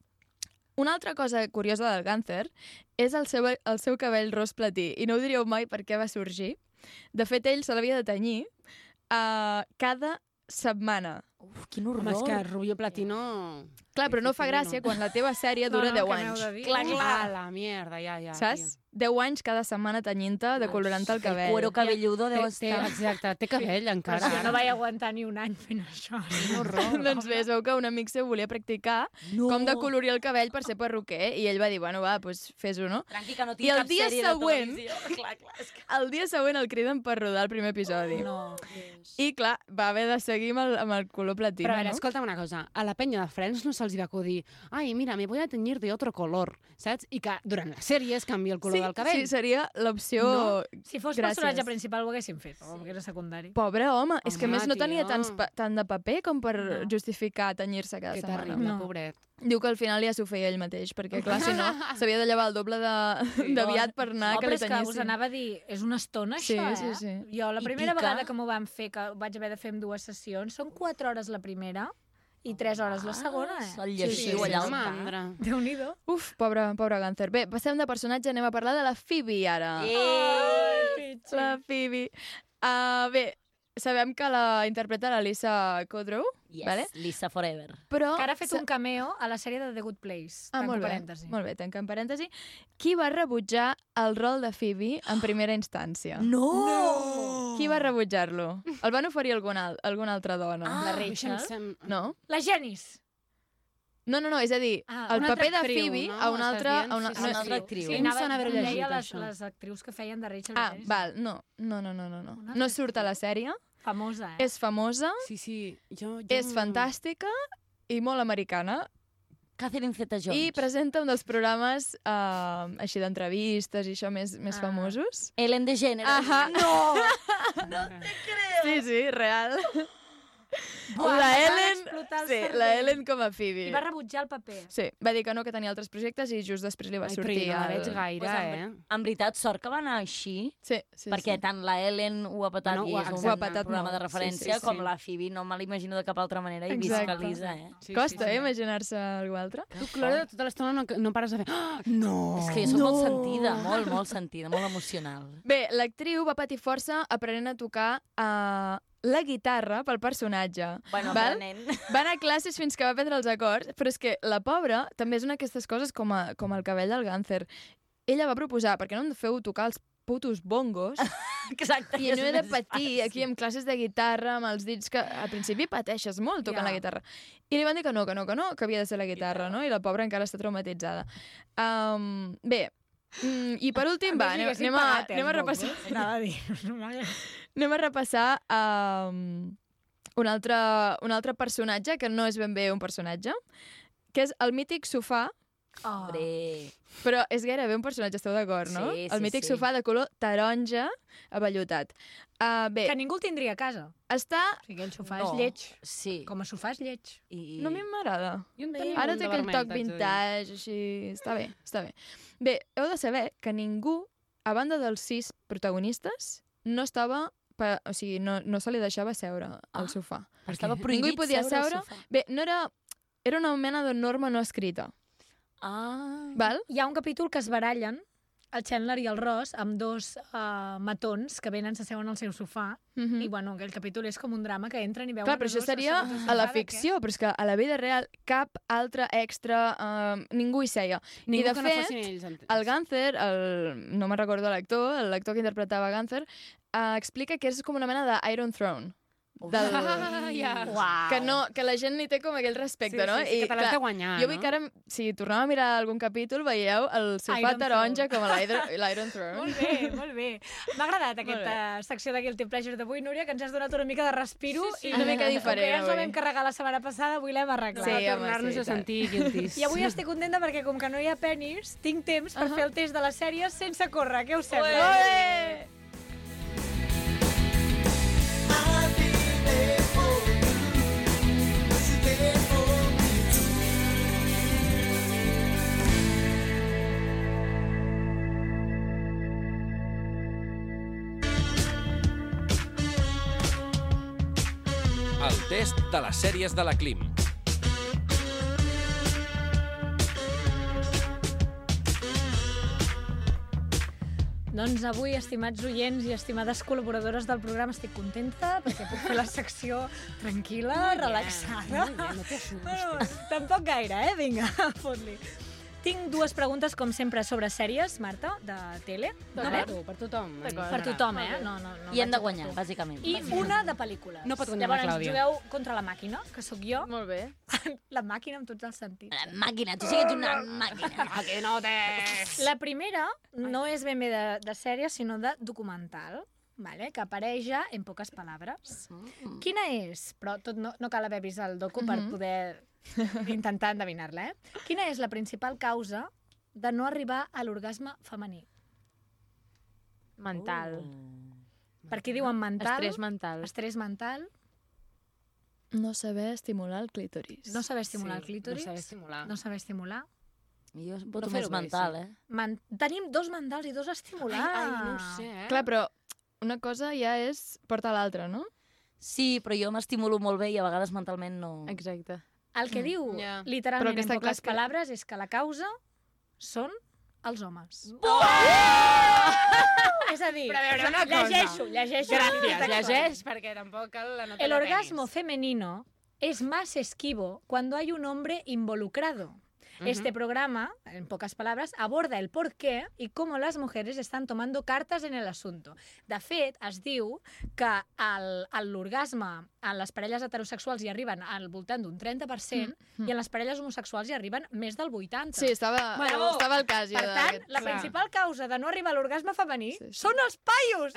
Una altra cosa curiosa del Gunther és el seu, el seu cabell ros platí, i no ho diríeu mai per què va sorgir. De fet, ell se l'havia de tenyir uh, cada setmana.
Uf, quin
Home, és que Rubio Platino...
Clar, però no fa gràcia quan la teva sèrie dura 10
que aneu
anys.
de dir.
Clar, clar.
Ah, la mierda, ja, ja.
Saps? 10 anys cada setmana tenyint-te, decolorant el cabell.
cuero cabelludo deu
Té-
estar.
té-
Exacte, té cabell encara.
Però si no
vaig aguantar ni un any fent això.
doncs bé, es veu que un amic se volia practicar no. com decolorir el cabell per ser perruquer i ell va dir, bueno, va, doncs fes-ho, no?
Tranqui, que no
I
tinc
el
cap
dia
sèrie
següent-
de televisió. Clar, clar, és que...
El dia següent el criden per rodar el primer episodi.
No.
I clar, va haver de seguir amb el, amb el color platí.
Però a veure,
no?
escolta'm una cosa, a la penya de Friends no se'ls hi va acudir ai, mira, me voy a teñir de otro color, saps? I que durant les sèries canvia el color
Sí,
del cabell.
sí, seria l'opció-
No?
Si fos
Gràcies.
Gràcies. personatge principal ho haguéssim fet, no? perquè era secundari.
Pobre home, és que a
Home,
més no tenia
tio.
tants pa- tant de paper com per no. justificar tenyir-se cada
Que
setmana.
terrible, no. pobret.
Diu que al final ja s'ho feia ell mateix, perquè clar, si no, s'havia de llevar el doble de, sí, d'aviat per anar
no,
que li
però és que us
tenyissin.
anava a dir, és una estona
Sí,
això,
sí,
eh?
sí.
Jo la
I
primera
pica.
vegada que m'ho van fer, que vaig haver de fer amb dues sessions, són 4 hores la primera i 3 hores
Ah,
la segona, eh?
el lleixiu allà al cap.
déu nhi
Uf, pobre, pobre Ganser. Bé, passem de personatge, anem a parlar de la Phoebe ara.
Ei!
la Phoebe. Uh, bé, sabem que la interpreta la Lisa Kudrow,
Yes,
vale?
Lisa Forever.
Però
Que ara ha fet
sa-
un cameo a la sèrie de The Good Place.
Oh, Ah,
Tanco
molt bé,
parèntesi.
molt bé, tanquem parèntesi. Qui va rebutjar el rol de Phoebe
Ah!
en primera instància?
No!
Qui va rebutjar-lo? El van oferir alguna, al- alguna altra dona.
Ah, La Rachel? això em
No?
La Janis.
No, no, no, és a dir,
Ah,
el
una
paper de
altra actriu,
Phoebe
no?
a una
Estàs
altra...
dient?
A una,
Sí, sí, sí.
altra
Sí, em anava- em deia les, les actrius que feien de Rachel
Ah,
Janis.
val, no, no, no, no, no. No, no surt a la sèrie.
Famosa, eh?
És famosa.
Sí, sí. Jo, jo...
És fantàstica i molt americana.
Catherine Zeta-Jones.
I presenta un dels programes eh, així d'entrevistes i això més, més ah. famosos.
Ellen DeGeneres.
Ahà.
No!
Sí, sí, real.
Buah,
la
em van
Ellen,
explotar el
sí,
cervell.
la Ellen com a Phoebe.
I va rebutjar el paper.
Sí, va dir que no, que tenia altres projectes i just després li va sortir el...
en, eh? En veritat, sort que va anar així.
Sí, sí,
perquè
sí.
tant la Ellen ho ha patat
No,
i
ho ha-
és un,
ho ha patat
programa
molt,
de
sí,
referència,
sí, sí.
com la Phoebe no me l'imagino de cap altra manera i visca Lisa, eh?
Sí, Costa, sí, sí. eh, imaginar-se algú altre.
Tu, Clara, tota l'estona no, no pares de fer... "Ah, No!
És que jo soc molt sentida, molt, molt sentida, molt emocional.
Bé, l'actriu va patir força aprenent a tocar eh, la guitarra pel personatge.
Bueno,
val?
aprenent.
Va anar a classes fins que va prendre els acords, però és que la pobra també és una d'aquestes coses com, a, com el cabell del Ganser. Ella va proposar, perquè no em feu tocar els putos bongos,
Exacte.
I no he de patir aquí amb classes de guitarra, amb els dits que al principi pateixes molt tocant yeah. la guitarra. I li van dir que no, que no, que no, que havia de ser la guitarra, no? I la pobra encara està traumatitzada. Um, bé, mm, i per últim, va, anem, anem, a, anem a repassar...
Anava a dir...
Anem a repassar um, un, altre, un altre personatge que no és ben bé un personatge, que és el mític sofà,
Oh.
però és gairebé un personatge, esteu d'acord, no?
Sí, sí,
el mític
sí.
sofà de color taronja avellutat. Uh, bé,
Eh, Que ningú el tindria a casa.
Està...
O sigui, el sofà és lleig.
Sí.
Com a sofà és lleig.
I...
No, a mi m'agrada.
Jo en tenia
Ara
un
té
de
aquell
vermell,
toc
t'haig de dir.
vintage, així... Està bé, està bé. Bé, heu de saber que ningú, a banda dels sis protagonistes, no estava... Per, o sigui, no, no se li deixava seure al sofà.
Per estava
què?
prohibit
Ningú hi podia
seure
seure.
al sofà.
Bé, no era... Era una mena de norma no escrita.
Ah.
Val?
Hi ha un capítol que es barallen el Chandler i el Ross amb dos uh, matons que venen, s'asseuen al seu sofà
Mhm.
i bueno, aquell capítol és com un drama que entren i veuen...
Clar, però
els
això
dos
seria
asseguts al
a la
sofà de què?
ficció, però és que a la vida real cap altre extra, eh, ningú hi seia.
Ningú
I de
que no
fet,
fossin ells, entens?
el Ganser, el, no me'n recordo l'actor, l'actor que interpretava Ganser, eh, explica que és com una mena d'Iron Throne. Del...
Ah, ja. Uau.
que, no, que la gent li té com aquell respecte,
Sí,
Mm, no?
sí, sí, que te l'has
clar,
de guanyar,
Jo vull
no?
que ara, si tornem a mirar algun capítol, veieu el sofà
Iron
taronja
Throne.
com a l'Iron- l'Iron Throne.
Molt bé, molt bé. M'ha agradat aquesta
bé.
secció de Guilty Pleasure d'avui, Núria, que ens has donat una mica de respiro.
Sí, sí, una mica diferent,
Com que ja ens la
avui.
vam carregar la setmana passada, avui l'hem arreglat.
Sí, home, Tornar-nos sí, a i tant. sentir guilties.
I avui estic contenta perquè com que no hi ha penis, tinc temps per fer el test de la sèrie sense córrer. Què us sembla?
Ué!
El test de les sèries de la Clim.
Doncs avui, estimats oients i estimades col·laboradores del programa, estic contenta perquè puc fer la secció tranquil·la,
Molt bé,
relaxada.
molt bé, no t'assustis.
bueno, tampoc gaire, eh? Vinga, fot-li. Tinc dues preguntes, com sempre, sobre sèries, Marta, de tele. eh?
No, per tu, per tothom.
Per tothom, eh? No, no, no
I hem de
vaig a
guanyar,
tu.
bàsicament.
I una de pel·lícules.
No pot guanyar la
Llavors,
Clàudia.
jugueu contra la màquina, que sóc jo.
Molt bé.
la màquina amb tots els sentits.
La màquina, tu sí que ets una màquina.
que no tens. La primera no és ben bé de, de sèrie, sinó de documental, vale? que apareix ja en poques paraules. Quina és? Però tot no, no cal haver vist el docu per
Mhm.
poder intentar endevinar-la. Eh? Quina és la principal causa de no arribar a l'orgasme femení?
Mental.
Uh.
Per què diuen mental?
Estrès mental.
Estrès mental.
No saber estimular el clítoris.
No saber estimular el clítoris. No saber estimular.
Jo
voto més mental, eh?
Man Tenim dos mentals i dos a estimular.
Ai, ai, no ho sé, eh? Clar, però una cosa ja és portar l'altra, no?
Sí, però jo m'estimulo molt bé i a vegades mentalment no...
Exacte.
El que
Mm.
diu,
Ja. Però
literalment,
que
en
està clar
poques
que-
paraules, és que la causa són els homes. Oh! És a dir,
Però a veure, una cosa.
llegeixo, llegeixo.
Gràcies,
Exacte.
llegeix, perquè tampoc cal la nota
El
de
orgasmo femenino es más esquivo cuando hay un hombre involucrado.
Mhm.
Ujú.
Este programa, en pocas palabras, aborda el por qué y cómo las mujeres están tomando cartes en el asunto. De fet, es diu que el- el- l'orgasme en les parelles heterosexuals hi arriben al voltant d'un
Mm.
30%
Hm.
i en les parelles homosexuals hi arriben més del 80%.
Mm. Sí, estava- estava al cas jo
Per tant,
d'aquest-
la
Clar.
principal causa de no arribar a l'orgasme femení són els paios!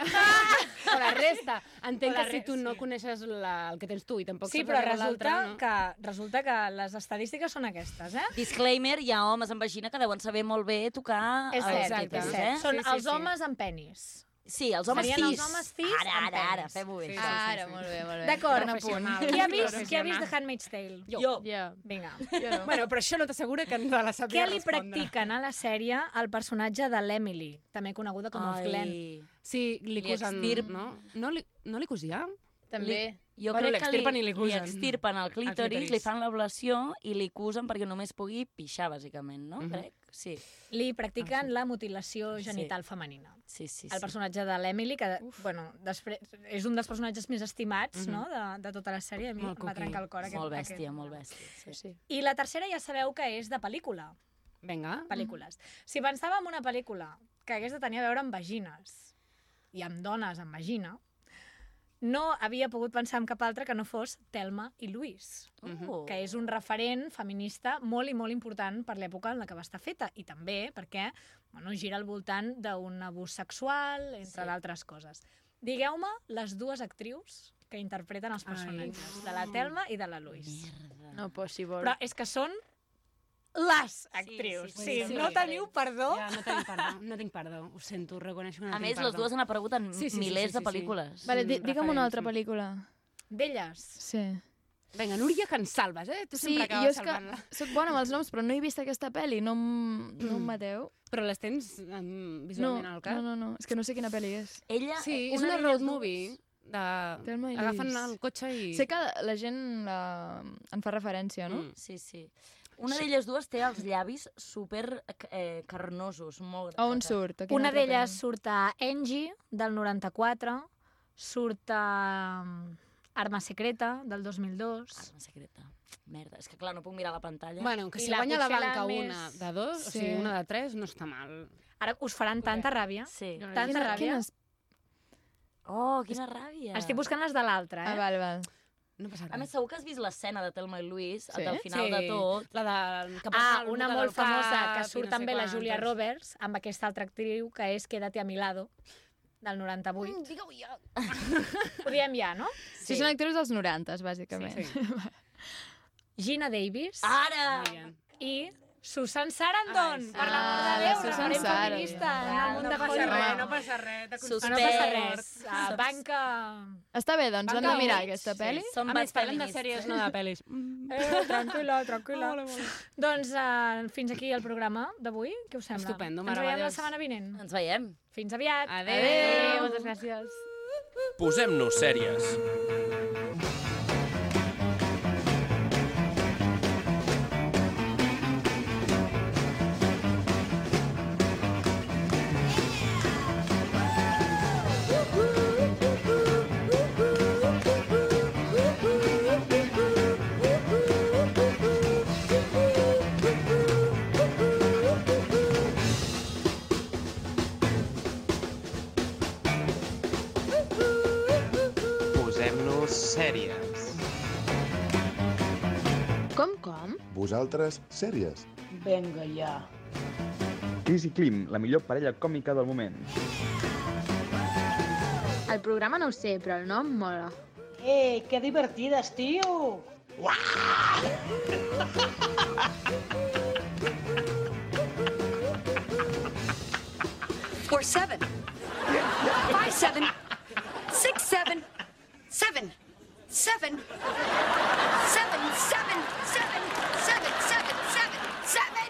O la resta. Entenc
O la
que si
re-
tu no coneixes la, el que tens tu i tampoc
Sí,
saps
però
res de l'altre,
resulta,
no?
que, resulta que les estadístiques són aquestes, eh?
Disclaimer, hi ha homes amb vagina que deuen saber molt bé tocar...
És
els
cert,
títols,
és cert.
Eh?
Són Sí, sí, els sí. homes amb penis.
Sí, els homes
Serien
cis.
els homes cis
Ara,
amb
ara, ara,
penis.
fem-ho bé. Ah,
Sí,
Sí,
sí,
sí, sí,
Ara,
sí.
molt bé, molt
Eh,
bé. D'acord, qui ha vist, qui ha vist The Handmaid's Tale?
Jo.
Yeah.
Vinga.
no. Bueno, però això no t'assegura que no la
Què
sabria
li
respondre.
practiquen a la sèrie al personatge de l'Emily, també coneguda com a
Ai.
Glenn?
Sí, li, cosen...
extirp-
No? No li, no li cosia?
Li, jo
Bueno,
crec que
l'extirpen
li,
i li cosen.
extirpen el clítoris,
clítoris.
li fan l'ablació i li acusen perquè només pugui pixar, bàsicament, no?
Mhm.
Crec, sí.
Li practiquen la mutilació genital femenina.
Sí, sí, sí.
El personatge de l'Emily, que bueno, després, és un dels personatges més estimats
Mhm.
no? de, de tota la sèrie. A mi em va
cuqui.
trencar el cor aquest.
Molt
aquest-
bèstia, molt bèstia. Sí. sí.
I la tercera ja sabeu que és de pel·lícula.
Mhm.
Vinga.
Pel·lícules. Si pensava en una pel·lícula que hagués de tenir a veure amb vagines i amb dones amb vagina, no havia pogut pensar en cap altra que no fos Telma i Luis,
Mhm.
que és un referent feminista molt i molt important per l'època en la que va estar feta i també perquè bueno, gira al voltant d'un abús sexual, entre
Sí.
d'altres coses. Digueu-me les dues actrius que interpreten els personatges, de la Telma i de la Luis.
No possible.
Però és que són les actrius.
sí,
Sí,
sí,
no
sí.
teniu perdó.
Ja, no tinc perdó, no tinc perdó. Ho sento, ho reconeixo que no
A
tinc
més,
perdó.
les dues han aparegut en milers de pel·lícules.
Vale, di-
Mm,
digue'm una altra
referents.
pel·lícula.
D'elles.
Sí.
Vinga, Núria, que ens salves, eh? Tu
Sí,
sempre
jo
acabes
és que
salvant-la.
sóc bona amb els noms, però no he vist aquesta pel·li, no, em- no em mateu.
Però les tens um, visualment
no,
al cap?
No, no, no, és que no sé quina pel·li és.
Ella,
Sí, és una road movie. De...
Telma i
Agafen
Luis.
el cotxe i...
Sé que la gent la... en fa referència, no?
Mm.
Sí, sí. Una d'elles dues té els llavis super eh, carnosos, molt...
A on surt? A quina
Una
altra
d'elles
pel·li?
surt a Angie, del 94, surt a mm, Arma Secreta, del 2002. Arma
Ah, Secreta. Merda, és que clar, no puc mirar la pantalla.
Bueno, que
I
si
la
guanya la
potser la
banca
més-
una de dos, o
Sí.
sigui, una de tres, no està mal.
Ara us faran tanta ràbia.
Sí.
Tanta
Quina-
ràbia.
quines-
Oh, quina ràbia.
Estic buscant les de l'altra, eh?
Ah, val, val.
No passa
A més, segur que has vist l'escena de Thelma i Louis,
Sí?
sí? del final
Sí.
de tot.
La de... que passa
Ah,
el
una
Luca
molt
del cap
famosa,
i
que
no
surt
sé
també la
quantes.
Julia Roberts, amb aquesta altra actriu, que és Quédate a mi lado, del 98. Mm,
Digue-ho ja.
Ho diem ja, no?
Sí, són actrius dels 90, bàsicament.
Sí, Gina Davis.
Ah. Ara!
I Susan Sarandon,
Ai, sí.
per l'amor
Ah,
de
la
Déu,
Susan
referent
Sarandon.
feminista en
Ah,
el món
no
de
passa
Hollywood.
res, no passa res, de
Ah,
Suspès.
No passa res. Ah,
Suspès.
banca...
Està bé, doncs l'hem de
Banca
mirar,
Orange,
aquesta
sí.
pel·li.
Som
A més, parlem de sèries, no de pel·lis.
Eh, tranquil·la, tranquil·la. Doncs uh, fins aquí el programa d'avui. Què us sembla?
Estupendo,
Ens veiem la
meravellós.
setmana vinent.
Ens veiem.
Fins aviat.
Adéu.
Adéu.
Moltes gràcies.
Posem-nos sèries.
Com, com?
Vosaltres, sèries.
Venga ja.
Cris i Klim, la millor parella còmica del moment.
El programa no ho sé, però el nom mola.
Eh, que divertides, tio!
Four seven. Five seven. Six seven. Seven. Seven. Seven. Seven. Seven. Seven. Seven. Seven. Seven.